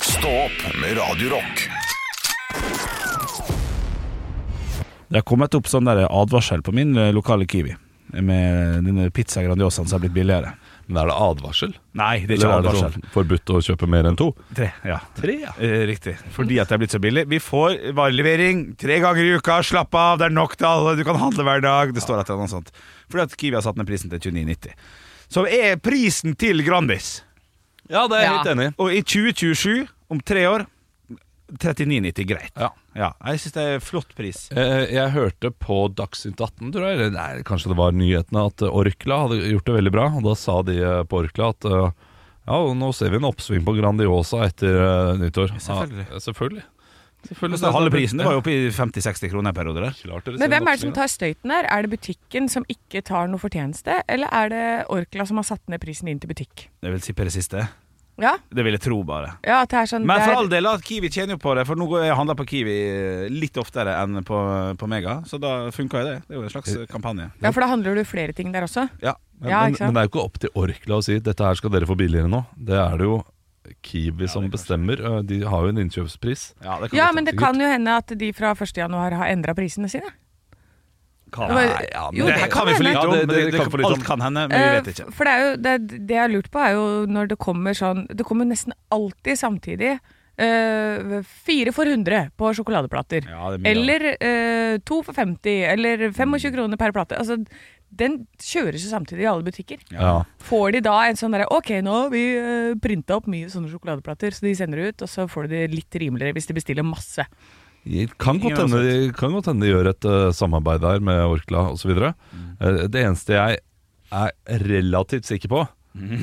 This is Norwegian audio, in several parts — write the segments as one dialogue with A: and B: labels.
A: Stå opp med Radio Rock.
B: Det har kommet opp sånn der advarsel på min eh, lokale Kiwi. Med denne pizza Grandiosaen som har blitt billigere.
C: Men er det advarsel?
B: Nei, det er ikke
C: Eller
B: advarsel.
C: sånn forbudt å kjøpe mer enn to?
B: Tre, ja. Eh, Riktig. Fordi at det er blitt så billig. Vi får varelevering tre ganger i uka. Slapp av, det er nok til alle. Du kan handle hver dag. Det står et eller annet sånt. Fordi at Kiwi har satt ned prisen til 29,90. Som er prisen til Grandis.
C: Ja, det er jeg
D: Ja.
C: helt enig i.
B: Og i 2027, om tre år 39,90. Greit.
C: Ja.
B: Ja, jeg syns det er flott pris.
C: Eh, Jeg hørte på Dagsnytt 18, tror jeg, eller nei, kanskje det var nyhetene, at eh, Orkla hadde gjort det veldig bra. Og da sa de eh, på Orkla at eh, ja, og nå ser vi en oppsving på Grandiosa etter eh, nyttår.
B: Selvfølgelig.
C: Ja, selvfølgelig.
B: Det
C: selvfølgelig.
B: er Halve prisen. Det var jo oppe i 50-60 kroner en periode der.
C: Klart dere ser
D: Men hvem
C: en
D: er det som
C: oppsving, da.
D: tar støyten der? Er det butikken som ikke tar noe fortjeneste, eller er det Orkla som har satt ned prisen inn til butikk?
B: Jeg vil si på det siste.
D: Ja,
B: Det vil jeg tro, bare.
D: ja at det er sånn
B: Men
D: det
B: for
D: er,
B: all del, da, Kiwi tjener jo på det, for nå går jeg og handler på Kiwi eh, litt oftere enn på, på Mega. Så da funka jo det. Det er jo en slags eh, kampanje.
D: Ja, for da handler du flere ting der også.
B: Ja.
C: Men,
D: Ja,
C: men,
D: ikke sant?
C: men det er jo ikke opp til Orkla å si dette her skal dere få billigere nå. Det er det jo Kiwi som bestemmer. Eh, De har jo en innkjøpspris.
B: Ja, det kan
D: Ja,
B: godt
D: men det
C: sikkert.
D: kan jo hende at de fra 1. januar har endra prisene sine.
B: kan-
D: Det var-
B: Nei, ja, men-
D: jo,
B: det
D: det
B: her
D: kan
B: kan vi for
D: hende.
B: lite om.
C: Ja, det-
B: men det,
C: det kan vi for
B: kan,
C: lite om.
B: alt kan hende, men vi vet
D: Eh,
B: ikke.
D: For det, er jo, det, det jeg har lurt på, er jo når det kommer sånn Det kommer nesten alltid samtidig eh, fire for 100 på sjokoladeplater.
B: Ja, det er mye
D: eller eh, to for 50, eller 25 kroner per plate. Altså, den kjøres jo samtidig i alle butikker.
C: Ja.
D: Får de da en sånn derre Ok, nå har vi uh, printa opp mye sånne sjokoladeplater, så de sender det ut, og så får de det litt rimeligere hvis de bestiller masse.
C: Det Kan godt,
B: Ingen
C: hende, det kan godt hende de gjør et eh, samarbeid der med Orkla osv. videre
B: Mm.
C: Eh, det eneste jeg er relativt sikker på,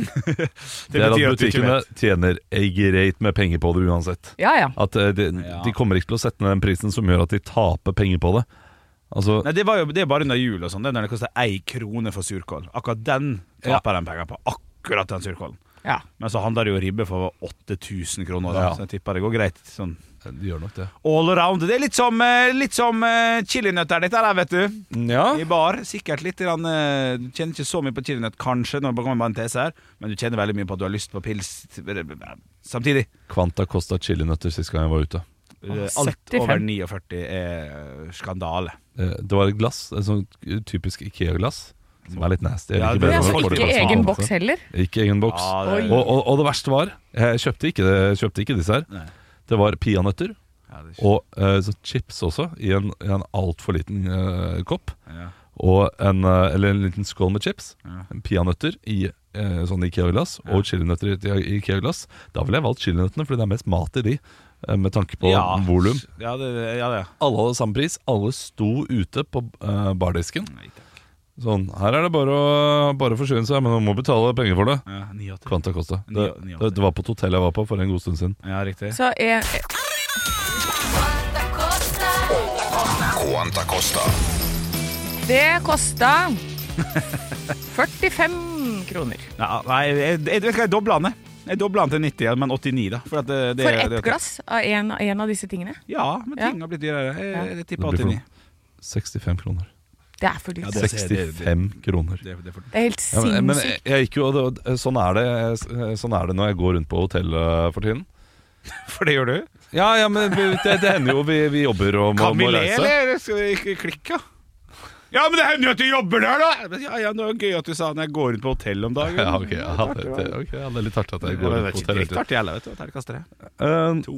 C: det, er at
B: betyr at du ikke
C: butikkene tjener greit med penger på det uansett.
D: Ja ja.
C: At eh, de,
B: Ja.
C: de kommer ikke til å sette ned den prisen som gjør at de taper penger på det. Altså,
B: Nei, det, var jo, det er bare under jul og sånn. Det er når det koster ei krone for surkål. Akkurat den taper de penger på. Akkurat den surkålen.
D: ja.
B: Men så handler det jo ribbe for 8000 kroner, da.
C: Ja.
B: så jeg tipper det går greit. Sånn
C: de gjør nok det.
B: all around. Det er litt som, eh, litt som eh, chilinøtter, dette her, vet du.
C: Ja.
B: I bar, sikkert litt grann, eh, Du kjenner ikke så mye på chilinøtt, kanskje, når det kommer bare en tese her, men du kjenner veldig mye på at du har lyst på pils samtidig.
C: Kvanta kosta chilinøtter sist gang jeg var ute.
B: Eh, Alt
D: 75.
B: over 49 er skandale.
C: Eh, Det var et glass, et sånt typisk Ikea-glass, som er litt nasty. Jeg
B: Ja,
C: liker
B: det er
C: bedre
D: Ja,
C: når
D: så
C: folk får det
D: ikke
C: glass med
D: egen
C: hånd.
D: boks heller.
C: Ikke egen boks.
B: Ja,
D: Oi.
B: det,
C: Og, og, og det verste var Jeg kjøpte ikke, det, jeg kjøpte ikke disse her
B: Nei.
C: Det var pianøtter
B: ja, det er ikke-
C: Og eh, så chips også I en, i en alt for liten eh, kopp
B: ja.
C: og en, eh, Eller en liten skål med chips
B: Ja.
C: Pianøtter i eh, sånn Ikea-glass Og chilinøtter i, i Ikea-glass Da ville jeg valgt chilinøttene Fordi det er mest mat i de eh, Med tanke på
B: Ja.
C: volum
B: Ja, det, ja, det.
C: Alle hadde samme pris Alle sto ute på eh, bardisken
B: Nei, takk.
C: Sånn, her er det bare å bare å forsyne seg Men man må betale penger for det
B: Ja, 89.
C: Kvanta kosta det,
B: Ni- ni-
C: det, det var på et hotell jeg var på for en god stund siden
B: Ja, riktig.
D: Så er,
A: Quanta Costa.
D: det kosta 45 kroner.
B: Ja, nei, jeg, jeg, vet du hva, jeg dobla den. jeg. Jeg dobla den til 90, ja, men 89, da. For, at eh, det, det,
D: For
B: det-
D: ett glass av en, en av disse tingene.
B: Ja, men ting har blitt dyrere. Jeg,
D: Ja.
B: jeg, tipper
C: Det blir for-
B: 89.
C: 65 kroner
D: Det er for dyrt.
B: Ja,
D: det,
B: det- det-
C: 65 kroner.
B: Det, det er for
D: er helt
C: Ja, men men jeg,
D: sinnssykt.
C: jeg gikk jo, og det, og sånn, er det, sånn er det når jeg går rundt på hotell eh, for tiden.
B: For det gjør du?
C: Ja, ja, men vi- det, det hender jo vi, vi jobber og må,
B: Kan vi
C: må
B: le,
C: reise.
B: eller skal vi ikke klikke? Ja, men det hender jo at du jobber der, da! Ja, ja, det var gøy at du sa når jeg går rundt på hotell om dagen.
C: Ja, ok, ja, det, det, ok, ja, det er litt hardt at
B: Det
C: jeg går
B: var
C: rundt på
B: ikke
C: hotell. hele tiden.
B: direkte artig heller, vet du. Terningkast tre.
C: Eh,
B: To.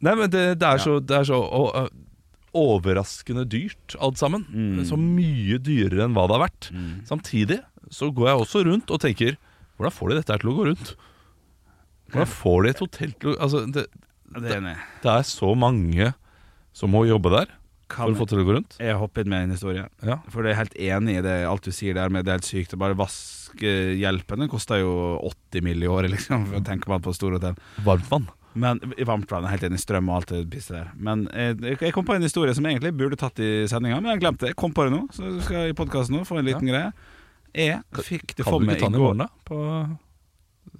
C: nei, men det, det er så, det er så å, å, overraskende dyrt alt sammen. Så mye dyrere enn hva det har vært. Samtidig så går jeg også rundt og tenker hvordan får de dette her til å gå rundt? Hvordan får de et hotell til å altså, det,
B: Det er enig.
C: Det er så mange som må jobbe der for
B: Kan
C: å få til å gå rundt.
B: jeg hoppe inn med en historie?
C: Ja.
B: For jeg er helt enig i det, alt du sier der med det er helt sykt. Og bare vaskehjelpen den koster jo 80 mill. i året, liksom. for Tenker man på storhotell.
C: Varmtvann.
B: Men i varmt vann, jeg er helt enig, strøm og alt det pisset der. Men eh, jeg kom på en historie som jeg egentlig burde tatt i sendinga, men jeg glemte det. Jeg kom på det nå, så skal jeg i podkasten nå få en liten greie. Jeg fikk det
C: Kan
B: for
C: du
B: meg
C: ikke ta den i morgen, da? På,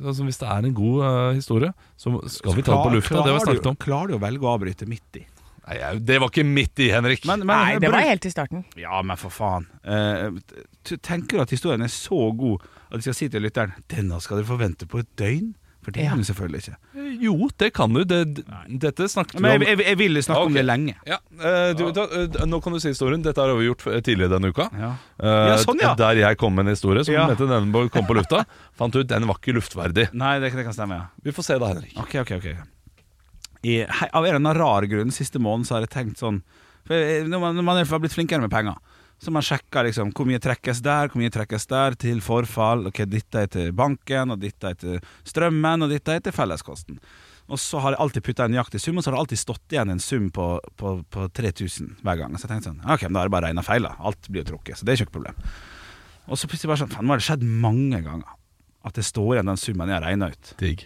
C: altså, hvis det er en god eh, historie, så skal vi ta den på lufta. Det har vi snakket om.
B: Klarer du å velge å avbryte midt i?
C: Nei, jeg- det var ikke midt i, Henrik.
B: Men- men-
D: Nei, det var
B: bruk-
D: helt i starten.
B: Ja, men for faen. Eh, t- tenker du at historien er så god at de skal si til lytteren 'Denne skal dere forvente på et døgn'? For det
D: Ja.
B: kan du selvfølgelig ikke.
C: Jo, det kan du. Det, d- dette snakket vi
B: Men
C: om.
B: jeg, jeg, jeg ville snakke
C: Ok.
B: om det lenge.
C: Ja, eh, du, da, eh, nå kan du si historien. Dette har vi gjort eh, tidligere denne uka.
B: Ja.
C: Eh,
B: Ja, sånn, ja.
C: Der jeg kom med en historie som
B: Ja.
C: Mette Nenneborg kom på lufta. Fant ut den var ikke luftverdig.
B: Nei, det, det kan stemme, ja.
C: Vi får se da, Henrik.
B: Ok, ok, ok I, hei, Av en eller annen rar grunn siste måneden så har jeg tenkt sånn for jeg, når, man, når man er blitt flinkere med penger Så man sjekker liksom hvor mye trekkes der Hvor mye trekkes der til forfall Ok, dette er til banken Og dette er til strømmen Og dette er til felleskosten Og så har jeg alltid puttet en nøyaktig sum Og så har det alltid stått igjen en sum på, på, på 3000 hver gang Så jeg tenkte sånn Ok, men da har jeg bare regnet feil da Alt blir jo trukket Så det er ikke noe problem Og så plutselig bare sånn Faen, nå har det skjedd mange ganger At det står igjen den summen jeg har regnet ut
C: Digg.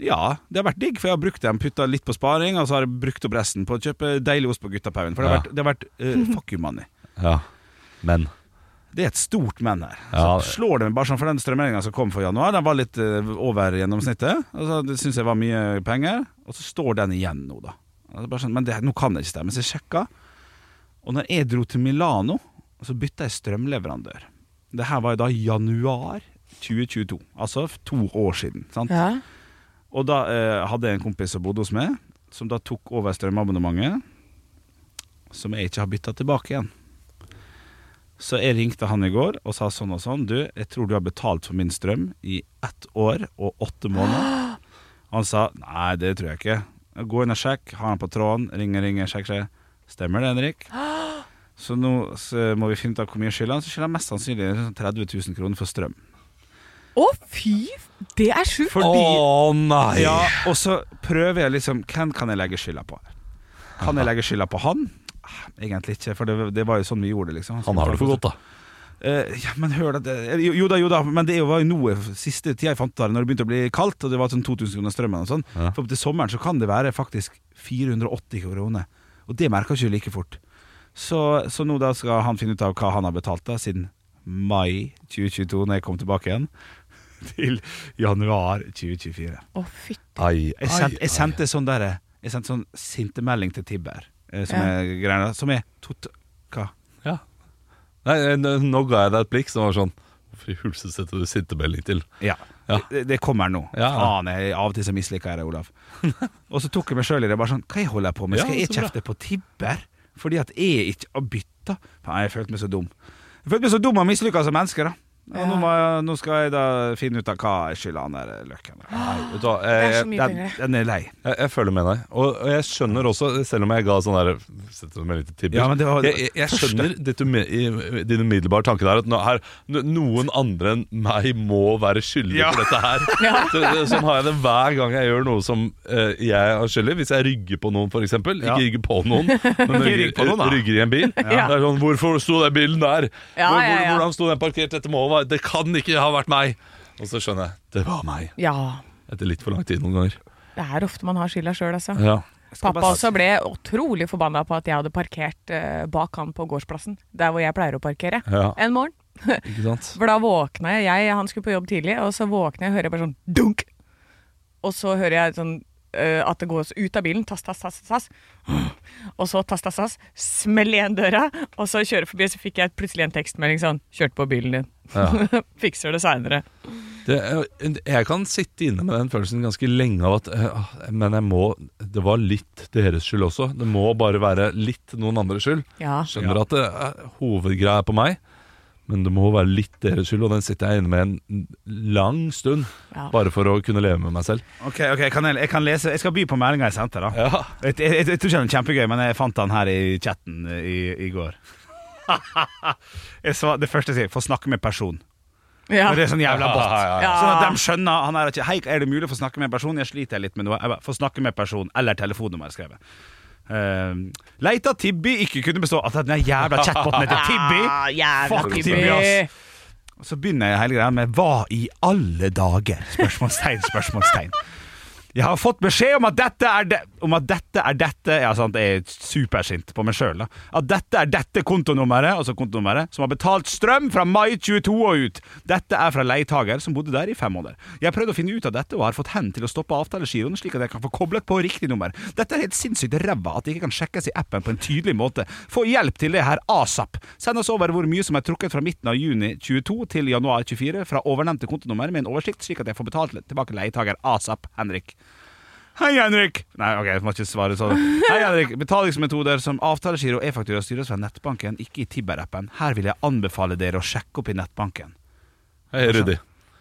B: ja, det har vært digg, for jeg har brukt dem, putta litt på sparing, og så har jeg brukt opp resten på å kjøpe deilig ost på guttapaugen. For det har
C: Ja.
B: vært, det har vært eh, fuck you money.
C: Ja. Men
B: Det er et stort men her.
C: Ja, det-
B: så slår det meg bare sånn, for den strømregninga som kom for januar, den var litt eh, over gjennomsnittet. Og så det syns jeg var mye penger, og så står den igjen nå, da. Og det er bare sånn, men det, nå kan det ikke stemme, så jeg sjekka. Og når jeg dro til Milano, så bytta jeg strømleverandør. Det her var jo da januar 2022, altså to år siden. sant?
D: Ja.
B: Og da eh, hadde jeg en kompis som bodde hos meg, som da tok over strømabonnementet, som jeg ikke har bytta tilbake igjen. Så jeg ringte han i går og sa sånn og sånn Du, jeg tror du har betalt for min strøm i ett år og åtte måneder. Han sa nei, det tror jeg ikke. Gå inn og sjekk. Har han på tråden? Ringer, ringer, sjekk, sjekk. Stemmer det, Henrik? Så nå så må vi finne ut av hvor mye skylder han. Så skylder han mest sannsynlig sånn 30 000 kroner for strøm.
D: Å, fy! Det er sjukt!
C: Å nei!
B: Ja, og så prøver jeg liksom Hvem kan jeg legge skylda på? Kan jeg legge skylda på han? Eh, Egentlig ikke, for det, det var jo sånn vi gjorde det. Liksom.
C: Han har det for godt, da.
B: Eh, ja, men hør da det, eh, jo, jo da, jo da, men det var jo noe siste tida jeg fant ut av det, når det begynte å bli kaldt, og det var sånn 2000 kroner strømmen og sånn.
C: Ja.
B: For til sommeren så kan det være faktisk 480 kroner, og det merker ikke du like fort. Så, så nå da skal han finne ut av hva han har betalt da siden mai 2022, når jeg kom tilbake igjen, til januar 2024.
D: Å, fytti
C: Ai,
B: Jeg, sendt, jeg sendte sånn der Jeg sendte sånn sintemelding til Tibber eh, Som
D: Ja.
B: er greier der, Som er tot Hva?
C: Ja. Nei, eh, n- nå ga jeg deg et blikk som var sånn Hvorfor i hulse setter du sintemelding til?
B: Ja,
C: Ja.
B: Det, det kommer nå
C: Ja.
B: Faen, jeg, av og til så misliker jeg det, Olav Og så tok jeg meg selv i det Bare sånn, hva jeg holder jeg på med?
C: Ja,
B: Skal jeg
C: så bra.
B: kjefte på Tibber? Fordi at jeg ikke har byttet Faen, jeg følte meg så dum Jeg følte meg så dum og mislykket som menneske da Og nå, må, jeg- nå skal jeg da finne ut av hva jeg skylder han der løkken
C: Nei, vet du hva, eh,
D: Det
C: jeg,
D: er så
C: jeg,
D: mye
B: den,
D: penger.
B: den er lei
C: jeg, jeg føler med deg. Og, og jeg skjønner også, selv om jeg ga sånn der Setter meg litt i tibber
B: Ja, men det var-
C: Jeg, jeg, jeg skjønner ditt, ume- i- din umiddelbare tanke der. At nå, her, no- noen andre enn meg må være skyldig
B: Ja.
C: for dette her. Så, sånn har jeg det hver gang jeg gjør noe som eh, jeg er skyldig. Hvis jeg rygger på noen, f.eks.
B: Ja.
C: Ikke rygger på noen, men
B: rygg
C: rygger,
B: på noen, da.
C: rygger i en bil.
D: Ja.
C: Det er sånn, Hvorfor sto den bilen der?
D: Ja,
C: hvor, hvor,
D: ja, ja.
C: Hvordan sto den parkert? Dette må være Det kan ikke ha vært meg! Og så skjønner jeg det var meg.
D: Ja.
C: Etter litt for lang tid noen ganger.
D: Det er ofte man har skylda sjøl, altså.
C: Ja.
B: skal
D: Pappa
B: bare-
D: også ble utrolig forbanna på at jeg hadde parkert eh, bak han på gårdsplassen, der hvor jeg pleier å parkere,
C: Ja.
D: en morgen.
C: Ikke sant?
D: For da våkna jeg, jeg, han skulle på jobb tidlig, og så våkna jeg og hører bare sånn dunk. Og så hører jeg sånn eh, at det går ut av bilen, tass, tass, tass, tass. Og så tass, tass, tass, smell igjen døra, og så kjører jeg forbi, så fikk jeg plutselig en tekstmelding sånn, kjørt på bilen din. Fikser det seinere.
C: Det, jeg, jeg kan sitte inne med den følelsen ganske lenge av at eh, ah, Men jeg må Det var litt deres skyld også. Det må bare være litt noen andres skyld.
D: Ja.
C: Skjønner at det er, hovedgreia er på meg, men det må være litt deres skyld. Og den sitter jeg inne med en lang stund,
D: Ja.
C: bare for å kunne leve med meg selv.
B: Ok, ok, kan jeg, jeg kan lese Jeg skal by på meldingen jeg sendte da
C: Ja,
B: Jeg, jeg, jeg, jeg tror ikke den er kjempegøy, men jeg fant den her i chatten eh, i, i går. jeg svar- det første jeg sier, få snakke med person.
D: Ja.
B: Men Det er sånn jævla bot.
C: Ja, ja,
D: ja.
B: Sånn at de skjønner han er ikke Hei, er det mulig å få snakke med en person? Jeg sliter litt med noe. Jeg bare, få snakke med en person, eller telefonnummer, skrev jeg. Ehm, Leit at Tibby ikke kunne bestå At den jævla chatboten heter Tibby.
D: Ah, jævla
B: Fuck
D: Tibby.
B: Tibby, ass. Og så begynner jeg hele greia med Hva i alle dager? Spørsmålstegn, spørsmålstegn. Jeg har fått beskjed om at dette er det om at dette er dette Ja, sant, jeg er supersint på meg sjøl, da. At dette er dette kontonummeret, altså kontonummeret, som har betalt strøm fra mai 22 og ut. Dette er fra leietager som bodde der i fem måneder. Jeg har prøvd å finne ut av dette og har fått hen til å stoppe avtalegiroen, slik at jeg kan få koblet på riktig nummer. Dette er helt sinnssykt ræva at det ikke kan sjekkes i appen på en tydelig måte. Få hjelp til det her asap. Send oss over hvor mye som er trukket fra midten av juni 22 til januar 24 fra ovennevnte kontonummer med en oversikt, slik at jeg får betalt tilbake leietager asap, Henrik. Hei, Henrik! Nei, ok, jeg må ikke svare sånn. Hei, Henrik. Betalingsmetoder som avtalegiro, e-faktura styres fra nettbanken, ikke i Tibber-appen. Her vil jeg anbefale dere å sjekke opp i nettbanken.
C: Hei, Rudi.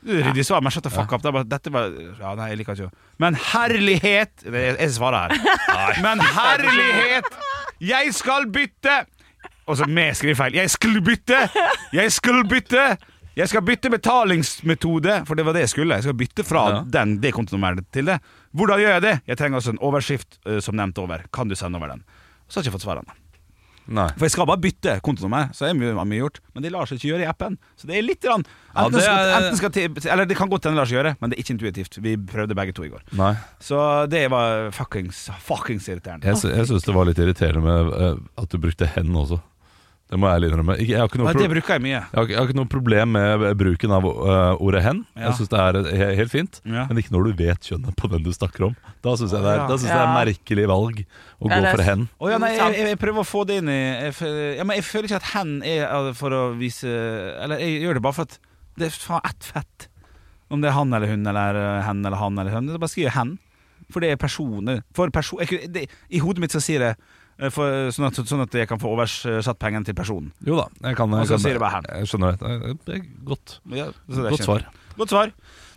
B: De svarer meg shut the fuck up. Det er bare, dette var, ja, nei, jeg liker ikke å- Men herlighet Det er Jeg som svarer her. Men herlighet! Jeg skal bytte! Og så med skrivefeil. Jeg skulle bytte! Jeg skulle bytte! Jeg skal bytte betalingsmetode, for det var det jeg skulle. Jeg skal bytte fra
C: Ja.
B: den, det kontonummeret til det. Hvordan gjør jeg det? Jeg trenger altså en overskrift eh, som nevnt over. Kan du sende over den? Så har jeg ikke fått svar ennå.
C: Nei.
B: For jeg skal bare bytte kontonummer, så er mye, mye gjort. Men det lar seg ikke gjøre i appen. Så det er litt grann,
C: Ja,
B: enten
C: det
B: skal,
C: er-
B: enten skal til, Eller det kan godt hende det lar seg gjøre, men det er ikke intuitivt. Vi prøvde begge to i går.
C: Nei.
B: Så det var fuckings, fuckings irriterende.
C: Jeg, sy jeg syns det var litt irriterende med eh, at du brukte hen også. Det må jeg ærlig innrømme. Ikke- Jeg har ikke noe,
B: Men
C: pro
B: det
C: jeg
B: bruker jeg mye.
C: har, ikke- jeg har ikke noe problem med bruken av eh, ordet hen.
B: Ja.
C: Jeg syns det er eh, he helt fint.
B: Ja.
C: Men ikke når du vet kjønnet på den du snakker om. Da syns jeg, det er-
B: Ja.
C: da synes jeg det er
D: Ja.
C: merkelig valg å
D: Ja,
C: gå
D: det er
C: for hen.
B: Å ja, nei, jeg, jeg, jeg prøver å få det inn i jeg, f- ja, men jeg føler ikke at hen er eh, for å vise Eller jeg gjør det bare for at det er faen ett fett. Om det er han eller hun eller eh, hen eller han eller hun. Jeg bare skriver hen. For det er personer. For perso jeg, kunne- det, I hodet mitt så sier jeg eh, for, sånn, at, sånn at jeg kan få oversatt pengene til personen.
C: Jo da, jeg kan
B: Og
C: jeg
B: så
C: kan-
B: sier du bare hen.
C: Jeg skjønner det. Det er eh, godt.
B: Ja, så det er
C: Godt
B: ikke-
C: svar.
B: Godt svar.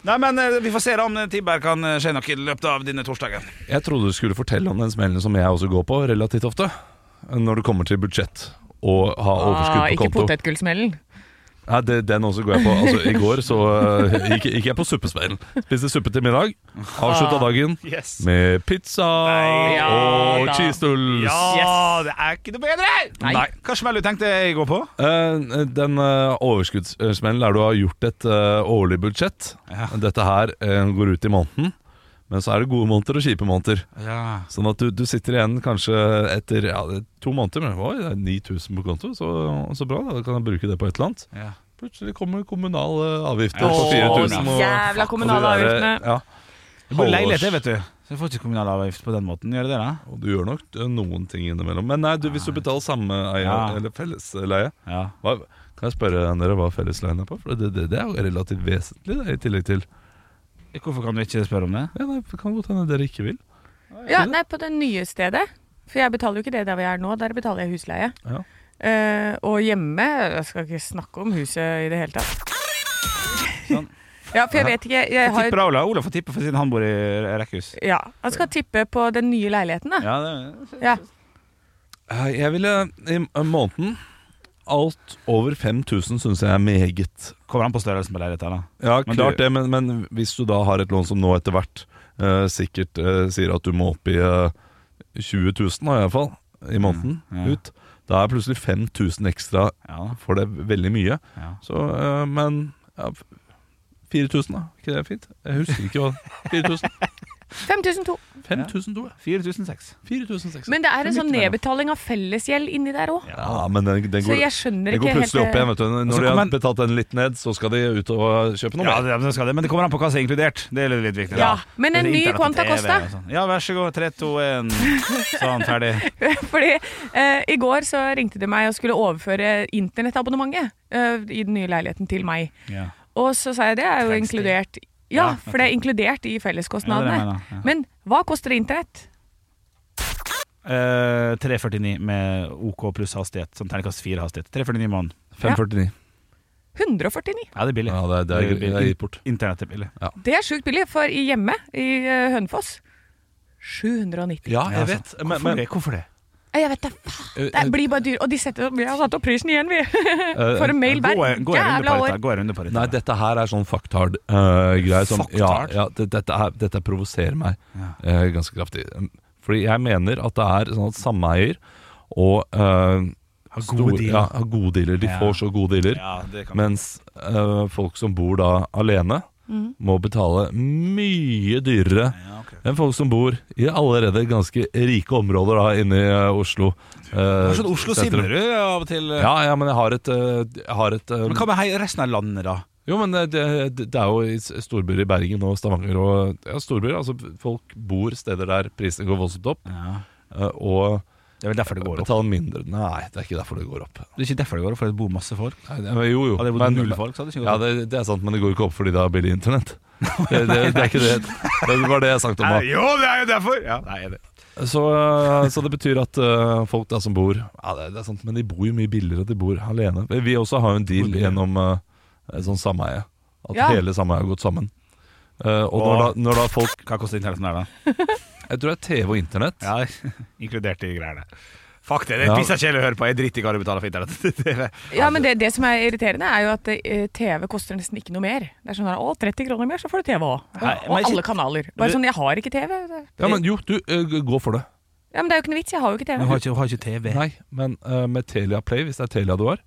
B: Nei, men eh, vi får se da om eh, Tibber kan eh, skje noe i løpet av denne torsdagen.
C: Jeg trodde du skulle fortelle om den smellen som jeg også går på relativt ofte. Når det kommer til budsjett og ha overskudd
D: Ah,
C: på
D: ikke
C: konto.
D: potetgullsmellen.
C: Nei, det, den også går jeg på. Altså, I går så eh, gikk, gikk jeg på suppesmellen. Spiste suppe til middag. Avslutta dagen
B: Yes.
C: med pizza
B: Nei,
D: ja
C: og
D: da.
C: cheese doodles.
B: Ja, det er ikke noe bedre!
D: Nei.
B: Hva smell du tenkte jeg går på?
C: Eh, den eh, overskuddssmellen der du har gjort et eh, årlig budsjett.
B: Ja.
C: Dette her eh, går ut i måneden, men så er det gode måneder og kjipe måneder.
B: Ja.
C: Sånn at du, du sitter igjen kanskje etter ja, det er to måneder med Oi, det er 9000 på konto, så, så bra, da kan jeg bruke det på et eller annet.
B: ja.
C: Plutselig kommer kommunale avgifter
B: Ja,
C: på
B: så
C: 4000. og-
D: jævla kommunale
C: og de der-
D: avgiftene.
C: Ja,
B: Jeg bor i leilighet, jeg, vet du. Så jeg får ikke kommunal avgift på den måten. Gjør jeg det, da?
C: og du gjør nok eh, noen ting innimellom. Men nei, du, hvis du betaler samme eie,
B: Ja.
C: eller fellesleie
B: Ja.
C: hva, Kan jeg spørre dere hva fellesleien er på? For det, det, det er jo relativt vesentlig, det, i tillegg til
B: Hvorfor kan du ikke spørre om det?
C: Ja, nei, det kan godt hende dere ikke vil.
D: Ja, nei, på det nye stedet. For jeg betaler jo ikke det der vi er nå. Der betaler jeg husleie.
C: Ja.
D: Eh, og hjemme Jeg skal ikke snakke om huset i det hele tatt.
B: Sånn.
D: Ja, for jeg vet ikke jeg har,
B: Tipper Ola. Ola får tippe for siden han bor i rekkehus.
D: ja, Han skal tippe på den nye leiligheten, da.
B: Ja, det,
D: Ja.
C: Eh, Jeg ville i eh, måneden Alt over 5000 syns jeg er meget.
B: kommer an på størrelsen på leiligheten, da.
C: Ja,
B: Men
C: klart
B: det-
C: det, men, men hvis du da har et lån som nå etter hvert eh, sikkert eh, sier at du må opp i eh, 20 000 da, i hvert fall, i måneden
B: Ja, ja.
C: ut, da er plutselig 5000 ekstra
B: Ja, da.
C: for det veldig mye.
B: Ja.
C: Så, eh, men ja, f- 4000 da, ikke det er fint? Jeg husker ikke hva 4000.
D: 5002.
C: 5002, ja.
B: 4006.
C: 4600.
D: Men det er en sånn
C: midt mellom.
D: nedbetaling av fellesgjeld inni der òg.
C: Ja, men den, den
D: Så
C: går,
D: jeg skjønner
C: den går
D: ikke helt eh,
C: plutselig opp igjen,
D: det.
C: vet du.
B: så
C: Når de
B: kommer
C: har
B: en-
C: betalt den litt ned, så skal de ut og kjøpe noe
B: Ja,
C: mer.
B: det, det skal det. Men det kommer an på hva som er inkludert. Det er litt viktig.
D: Ja, men en
B: Det er
D: ny
B: internett og
D: Quanta
B: TV
D: Costa.
B: og sånn. Ja, vær så god. 3, 2, 1. Sånn, ferdig.
D: Fordi eh, i går så ringte de meg og skulle overføre internettabonnementet eh, i den nye leiligheten til meg.
B: Ja.
D: Og så sa jeg det er jo
B: Trengs det?
D: inkludert
B: Ja,
D: Ja, for det er inkludert i felleskostnadene.
B: Ja, det er det jeg mener, ja.
D: Men hva koster internett?
B: Eh, 349 med OK pluss hastighet. Sånn terningkast 4 hastighet. 349 i måneden.
C: 549.
D: 149.
B: Ja, det er billig.
C: Ja, det er, det er, det er gitt bort.
B: Internett er billig.
D: Det er sjukt billig, for i hjemme i eh, Hønefoss 790.
C: Ja, jeg
B: altså.
C: vet. Men, men,
B: Hvorfor det? Hvorfor det?
D: Nei, Jeg vet da faen! Det blir bare dyr. Og de setter Vi har satt opp prisen igjen, vi!
C: Eh,
D: For en mail
B: Gå,
D: hver
B: gå en runde
D: jævla
B: på
D: år.
B: dette. Gå en runde på dette.
C: Nei, dette her er sånn fucktard uh, greier som, ja,
B: Fucktard?
C: ja, det, dette, er, dette provoserer meg
B: Ja.
C: eh, ganske kraftig Fordi jeg mener at det er sånn at sameier Og eh,
B: Har
C: stor-
B: gode deal.
C: ja, har gode dealer De
B: Ja.
C: får så gode dealer
B: Ja, det kan
C: Mens eh, folk som bor da alene
B: Mm.
C: må betale mye dyrere enn folk som bor i allerede ganske rike områder da, inne i eh, Oslo. eh,
B: Det er sånn
C: sentrum.
B: Oslo-Simmerud av og til. eh.
C: Ja, ja, men jeg har et, eh, jeg har et eh,
B: Men hva med hei- resten av landet, da?
C: Jo, men det, det- det er jo i s- storbyer i Bergen og Stavanger og ja, storbyer. Altså, folk bor steder der prisene går voldsomt opp, eh, og
B: Det er vel derfor det går opp.
C: betaler mindre. Nei, det er ikke derfor det går opp.
B: Det er ikke derfor det går opp, for det bor masse folk.
C: Nei, det, men jo, jo.
B: Hadde det bodd
C: Men-
B: null folk, så hadde det ikke gått
C: Ja,
B: opp.
C: det, det er sant, men det går ikke opp fordi det er billig internett. Det, det, det er ikke det. Det var det jeg snakket om. da.
B: Nei, jo, det er jo derfor! Ja, nei, jeg er enig.
C: Så, så det betyr at eh, folk da som bor Ja, det, det er sant, men de bor jo mye billigere. De bor alene. Vi- Vi også har jo en deal gjennom eh, sånn sameie. At
D: Ja.
C: hele sameiet har gått sammen. Eh, og når da,
B: Åh.
C: når da folk
B: Hva koster internetten her, da?
C: Jeg tror det er TV og internett.
B: Ja, Inkludert i greiene. Fuck det, det
C: Ja.
B: er pissa kjedelig å høre på. Jeg driter i hva du betaler for internett. Det er-
D: Ja, men det, det som er irriterende, er jo at eh, TV koster nesten ikke noe mer. Det er sånn her, å, 30 kroner mer, så får du TV òg. Og,
B: Nei,
D: og
B: men
D: alle
B: shit.
D: kanaler. Bare sånn, jeg har ikke TV. Det-
C: Ja, men jo, du, eh, gå for det.
D: ja, men det er jo ikke noe vits, jeg har jo ikke TV.
B: Men har ikke, har ikke TV.
C: Nei, men eh, med Telia Play, hvis det er Telia du har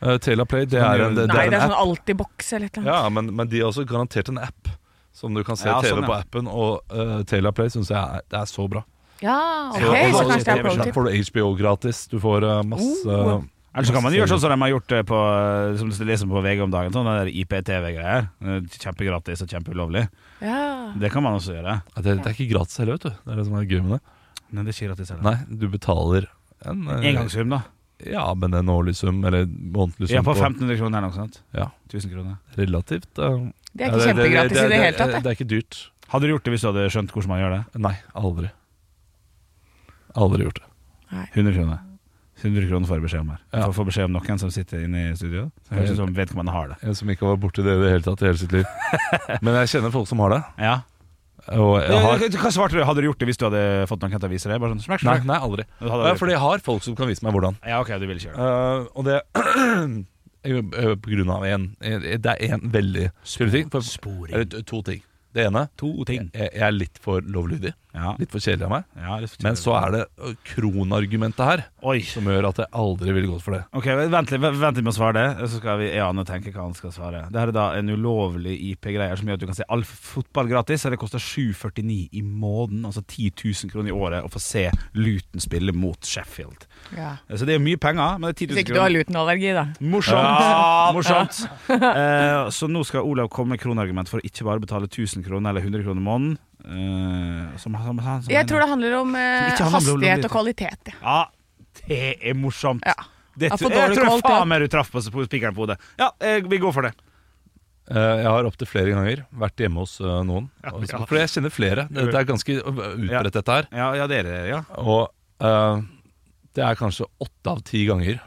C: eh, Telia Play, det er en, det,
D: Nei,
C: er
D: det
C: en
D: er
C: app.
D: sånn Altibox eller et eller annet.
C: Ja, men, men de har også garantert en app. Som du kan se
B: Ja,
C: TV
B: sånn, ja.
C: på appen, og eh, Telia Play syns jeg er, det er så bra.
D: Ja,
C: Så- og
D: ok, så
C: så-
D: kanskje det er pro
C: så
D: tip.
C: får du HBO gratis. Du får eh, masse
D: Oh.
B: Eller så kan man gjøre sånn som de har gjort det på eh, Som du leser på VG om dagen. Sånn der IPTV-greier. Kjempegratis og kjempeulovlig.
D: Ja.
B: Det kan man også gjøre.
C: Ja, det, det er ikke gratis heller, vet du. Det er det som er gøy med det.
B: Men det er ikke gratis heller.
C: Nei, du betaler en eh,
B: Engangssum, da.
C: Ja, men en årlig sum, eller en månedlig sum.
B: Ja, på 1500 kroner eller noe sånt.
C: Ja,
B: 1000 kroner.
C: relativt. eh,
D: Det er
C: ja,
D: ikke kjempegratis i det hele tatt.
C: Det er ikke dyrt.
B: Hadde du gjort det hvis du hadde skjønt hvordan man gjør det?
C: Nei, aldri. Aldri gjort det.
B: 100 kroner. 100 kroner får jeg beskjed om her.
C: Ja.
B: Får, får beskjed om noen som sitter inne i studio. Det høres ut som vedkommende har det.
C: En som ikke har vært borti det i det hele tatt i hele sitt liv. Men jeg kjenner folk som har det.
B: Ja.
C: Og jeg har
B: Hva svarte du? Hadde du gjort det hvis du hadde fått noen til å vise deg? Bare sånn smekk,
C: Nei,
B: smekk.
C: nei aldri.
B: Du hadde
C: Ja,
B: aldri gjort
C: fordi jeg har folk som kan vise meg hvordan.
B: det. Ja, ok, du ville ikke gjøre det.
C: Eh, og det er jo, eh, på grunn av en eh, Det er en veldig skummel ting. For,
B: Sporing.
C: eller t- to ting. Det ene
B: to ting.
C: jeg, jeg er litt for lovlydig.
B: Ja.
C: Litt for kjedelig av meg.
B: ja litt for
C: Men så er det eh, kronargumentet her
B: Oi.
C: som gjør at jeg aldri ville gått for det.
B: Ok, vent litt, vent litt med å svare det, så skal vi Ane tenke hva han skal svare. Det her er da en ulovlig IP-greier som gjør at du kan se all fotball gratis, og det koster 7,49 i måneden, altså 10 000 kroner i året, å få se Luton spille mot Sheffield. Eh,
D: Ja.
B: Så det er mye penger, men det er 10
D: Hvis
B: 000
D: ikke du har
B: kroner.
D: lutenallergi, da.
B: Morsomt! Morsomt. Eh, så nå skal Olav komme med kronargument for å ikke bare betale 1000 kroner eller 100 kroner i måneden. eh, som, som, som, som
D: Jeg tror det handler om eh,
B: Som ikke handler om
D: hastighet
B: lovlighet.
D: og kvalitet. ja.
B: Ja, det er morsomt.
D: Ja.
B: Det,
D: Ja,
B: tror-
D: for
B: jeg
D: dårlig
B: tror
D: kvalitet.
B: faen meg du traff på på spikeren på hodet. Ja, eh, vi går for det.
C: Eh, Jeg har opptil flere ganger vært hjemme hos eh, noen. og-
B: ja.
C: Fordi jeg kjenner flere. Det, det er ganske eh, utbredt, dette her.
B: Ja, ja dere, ja.
C: Og eh, det er kanskje åtte av ti ganger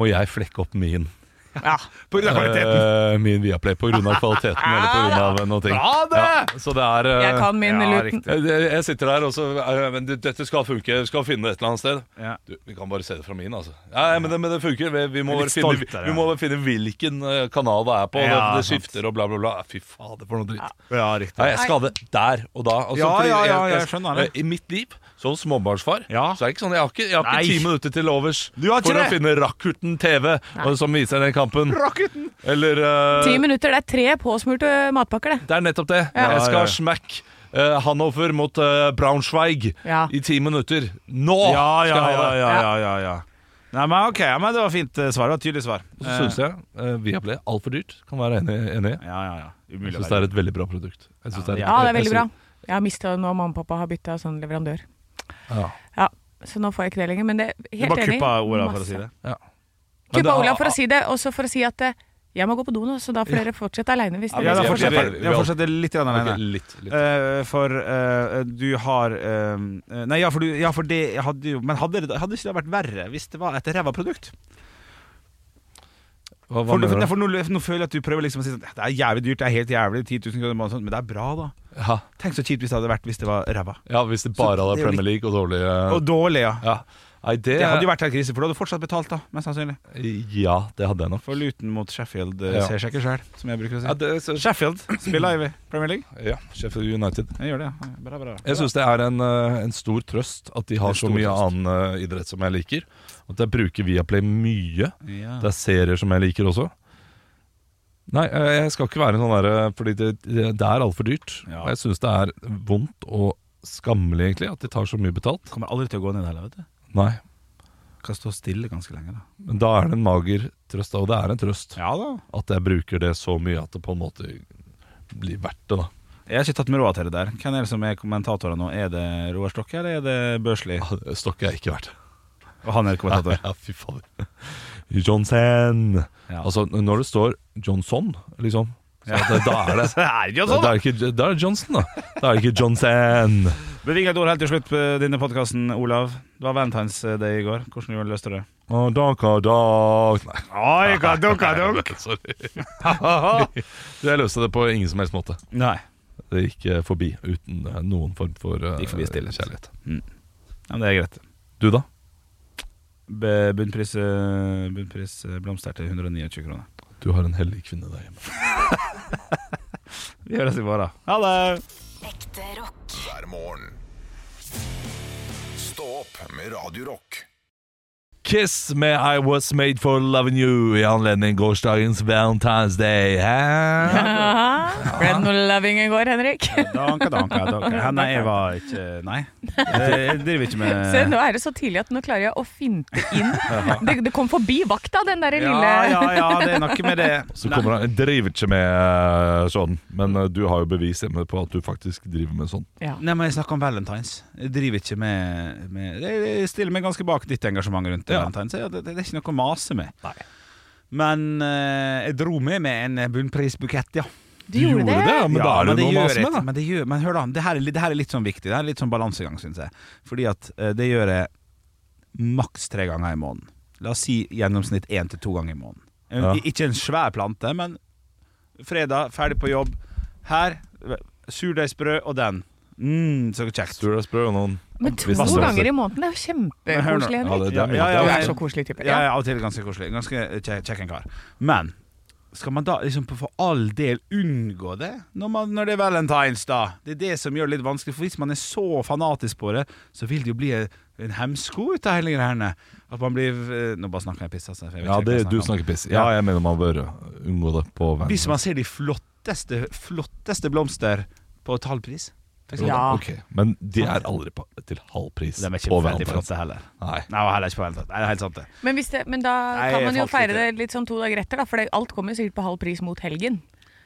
C: må jeg flekke opp min,
D: Ja.
B: På grunn av kvaliteten.
C: eh, min Viaplay på grunn av kvaliteten eller på grunn av noe ting.
B: Bra det!
C: Ja, så det er eh,
D: Jeg kan min
B: ja,
D: luten.
B: riktig.
C: jeg, jeg sitter der og så eh, Men det- dette skal funke. Vi skal finne det et eller annet sted.
B: Ja.
C: Du, vi kan bare se det fra min, altså. Ja, ja, men, det, men det funker. Vi, vi, må bare
B: Jeg er litt
C: finne,
B: stoltere,
C: vi
B: ja.
C: må bare finne hvilken eh, kanal det er på. og
B: Ja,
C: det, det
B: sant.
C: skifter og bla, bla, bla. Fy fader, for noe dritt.
B: Ja, riktig.
C: Nei, jeg skader der og da. Altså,
B: Ja,
C: fordi
B: ja, ja, jeg skjønner det.
C: I mitt liv som småbarnsfar
B: Ja.
C: Så er det ikke sånn, jeg har ikke, jeg har
B: Nei.
C: ikke ti minutter til overs
B: Du har ikke
C: for å
B: det.
C: finne Rakuten TV, og, som viser den kampen.
B: Rakuten!
C: Eller eh,
D: Ti minutter, det er tre påsmurte matpakker, det.
C: Det er nettopp det.
D: Ja.
C: Jeg skal
B: Ja, ja.
C: ha smack. eh, Hannover mot eh, Braunschweig
D: Ja.
C: i ti minutter. Nå
B: Ja, ja,
C: skal jeg
B: ja,
C: ha det!
B: ja, ja, ja, ja. Nei, men ok, ja, men det var fint eh, svar. Det var et tydelig svar.
C: Og Så syns jeg uh, Viaplay altfor dyrt. Kan være enig enig i.
B: Eh, Ja, ja, ja.
C: Jeg
B: Umulig å
C: syns det
B: være.
C: er et veldig bra produkt. Jeg synes
D: Ja, det
C: jeg
D: er veldig bra.
C: synes-
D: Jeg har mista nå mamma og pappa har bytta sånn leverandør.
C: Ja.
D: Ja, så nå får jeg ikke det lenger. Men det er
B: Du
D: helt
B: bare
D: enig.
B: kuppa orda for å si
D: Masse.
B: det.
C: Ja. Men
D: Kuppa
C: det-
D: Olav for å si det, og så for å si at eh, jeg må gå på do nå, så da får dere fortsette aleine hvis
C: Ja,
B: Ja,
C: vi
B: da
D: dere
C: er
D: vil.
C: fortsatt-
B: fortsetter
C: ferdig. Vi
B: jeg
C: er-
B: fortsetter litt grann
C: Ok,
B: alene.
C: litt, litt.
B: Eh, for eh, du har eh, Nei, ja, for, du, ja, for det jeg hadde jo Men hadde, det- hadde ikke det vært verre hvis det var et ræva produkt?
C: Hva, hva
B: For, for,
C: mener du?
B: for nå, nå føler jeg at du prøver liksom å si sånn Det er jævlig dyrt, det er helt jævlig, 10 000 kroner i måneden, sånn, men det er bra, da.
C: Ja.
B: Tenk så kjipt hvis det hadde vært hvis det var ræva.
C: Ja, hvis det bare hadde
B: Så det
C: vært
B: er jo
C: Premier League og dårlig eh,
B: Og dårlig, ja.
C: ja. Nei, det,
B: Det hadde jo vært helt krise, for du hadde fortsatt betalt, da, mest sannsynlig.
C: Ja, det hadde jeg nok.
B: For Luton mot Sheffield eh,
C: Ja.
B: ser seg ikke sjæl, som jeg bruker å si.
C: Ja, det, så,
B: Sheffield spiller i Premier League.
C: ja, Sheffield United.
B: Jeg gjør det, ja. Bra, bra.
C: Jeg syns det er en, eh, en stor trøst at de har
B: En
C: så
B: stor
C: mye
B: trøst.
C: annen eh, idrett som jeg liker. At jeg bruker Viaplay mye.
B: Ja.
C: Det er serier som jeg liker også. Nei, eh, jeg skal ikke være en sånn derre Fordi det, det det er altfor dyrt.
B: Ja.
C: Og jeg syns det er vondt og skammelig, egentlig, at de tar så mye betalt.
B: Kommer aldri til å gå ned heller, vet du.
C: Nei.
B: Kan stå stille ganske lenge, da.
C: Men da er det en mager trøst, da, og det er en trøst.
B: Ja da.
C: At jeg bruker det så mye at det på en måte blir verdt det, da.
B: Jeg har ikke tatt meg råd til det der. Hvem er det som er kommentatorer nå? Er det Roar Stokke, eller er det Børsli?
C: Ja, det Stokke er ikke verdt.
B: Og han er kommentator.
C: Ja, fy fader. Johnson.
B: Ja.
C: Altså, når det står Johnson, liksom så
B: Ja.
C: da, da er det
B: Det er jo
C: da, da
B: sånn, da!
C: er det ikke, da er det Johnson, da. Da er det ikke Johnson.
B: Beving et ord helt til slutt på denne podkasten, Olav. Det var Valentine's Day i går. Hvordan gjorde du løste du det?
C: Og daka dag Nei,
B: Oi, kadunka,
C: sorry. Jeg løste det på ingen som helst måte.
B: Nei.
C: Det gikk eh, forbi uten eh, noen form for eh,
B: Gikk forbi stillhet.
C: kjærlighet.
B: Ja, men det er greit.
C: Du, da?
B: Be- Bunnpris, eh, bunnpris eh, blomster til 129 kroner.
C: Du har en hellig kvinne der hjemme.
B: Vi høres i morgen. Ha det!
E: Ekte rock.
A: hver morgen. Stå opp med Radio Rock.
C: Kiss med I Was Made For Loving You i anledning gårsdagens Valentine's Day. Hæ?
D: Ja. Ble det noe loving i går, Henrik?
B: Danka, danka, danka. Ja, Nei, jeg var ikke Nei. Jeg driver ikke med
D: Se, nå er det så tidlig at nå klarer jeg å finte inn. Det, det kom forbi vakta, den der
B: Ja,
D: lille
B: ja, ja, det er noe med det.
C: Så kommer han, jeg driver ikke med eh, sånn, men eh, du har jo bevis hjemme på at du faktisk driver med sånn.
D: Ja.
B: Nei, men Jeg snakker om valentines. Jeg driver ikke med, med Jeg jeg stiller meg ganske bak ditt engasjement rundt
C: Ja.
B: valentines. Ja, det, det er ikke noe å mase med. Men eh, jeg dro med meg en bunnprisbukett, ja.
D: Du gjorde det?
C: ja, men
B: ja,
C: da er det
B: men
C: noe å
B: gjør
C: mase med,
B: jeg-
C: da.
B: Men, det gjør, men hør da, det her, er, litt- det her er litt sånn viktig. Det her er litt sånn balansegang, syns jeg. Fordi at eh, det gjør jeg maks tre ganger i måneden. La oss si gjennomsnitt én til to ganger i måneden. En-
C: Ja.
B: i- Ikke en svær plante, men fredag, ferdig på jobb. Her, surdeigsbrød og den. Mm, så kjekt.
C: Sturdagsbrød og noen
D: Men to
C: Hvis det-
D: ganger i måneden er jo
B: Men hør nå.
D: kjempekoselig,
C: Ja,
D: Henrik.
C: det, det er mye.
B: Ja, ja,
D: Du
B: ja.
D: er så koselig type.
B: Ja,
D: Ja.
B: ja, av og til ganske koselig. Ganske kje- kjekk en kar. Men skal man da liksom på- for all del unngå det når, man, når det er valentines, da? Det er det som gjør det litt vanskelig, for hvis man er så fanatisk på det, så vil det jo bli en hemsko ut av hele greiene. At man blir eh, Nå bare snakker jeg piss, altså. for jeg vet
C: Ja,
B: ikke hva
C: det,
B: jeg
C: du
B: om.
C: snakker piss. Ja, jeg mener man bør unngå det på veien.
B: Hvis man ser de flotteste, flotteste blomster på talpris, for eksempel.
D: Ja.
C: Ok, Men de er aldri på, til halv pris
B: De er ikke
C: på
B: veldig
C: Valentine's.
B: flotte heller.
C: Nei.
B: Nei, og heller ikke på Valentine's. Nei, det er helt sant, det.
D: Men, hvis det, men da
B: Nei,
D: kan man jo
B: jeg falt
D: feire det litt sånn to dager etter, da, for det, alt kommer jo sikkert på halv pris mot helgen.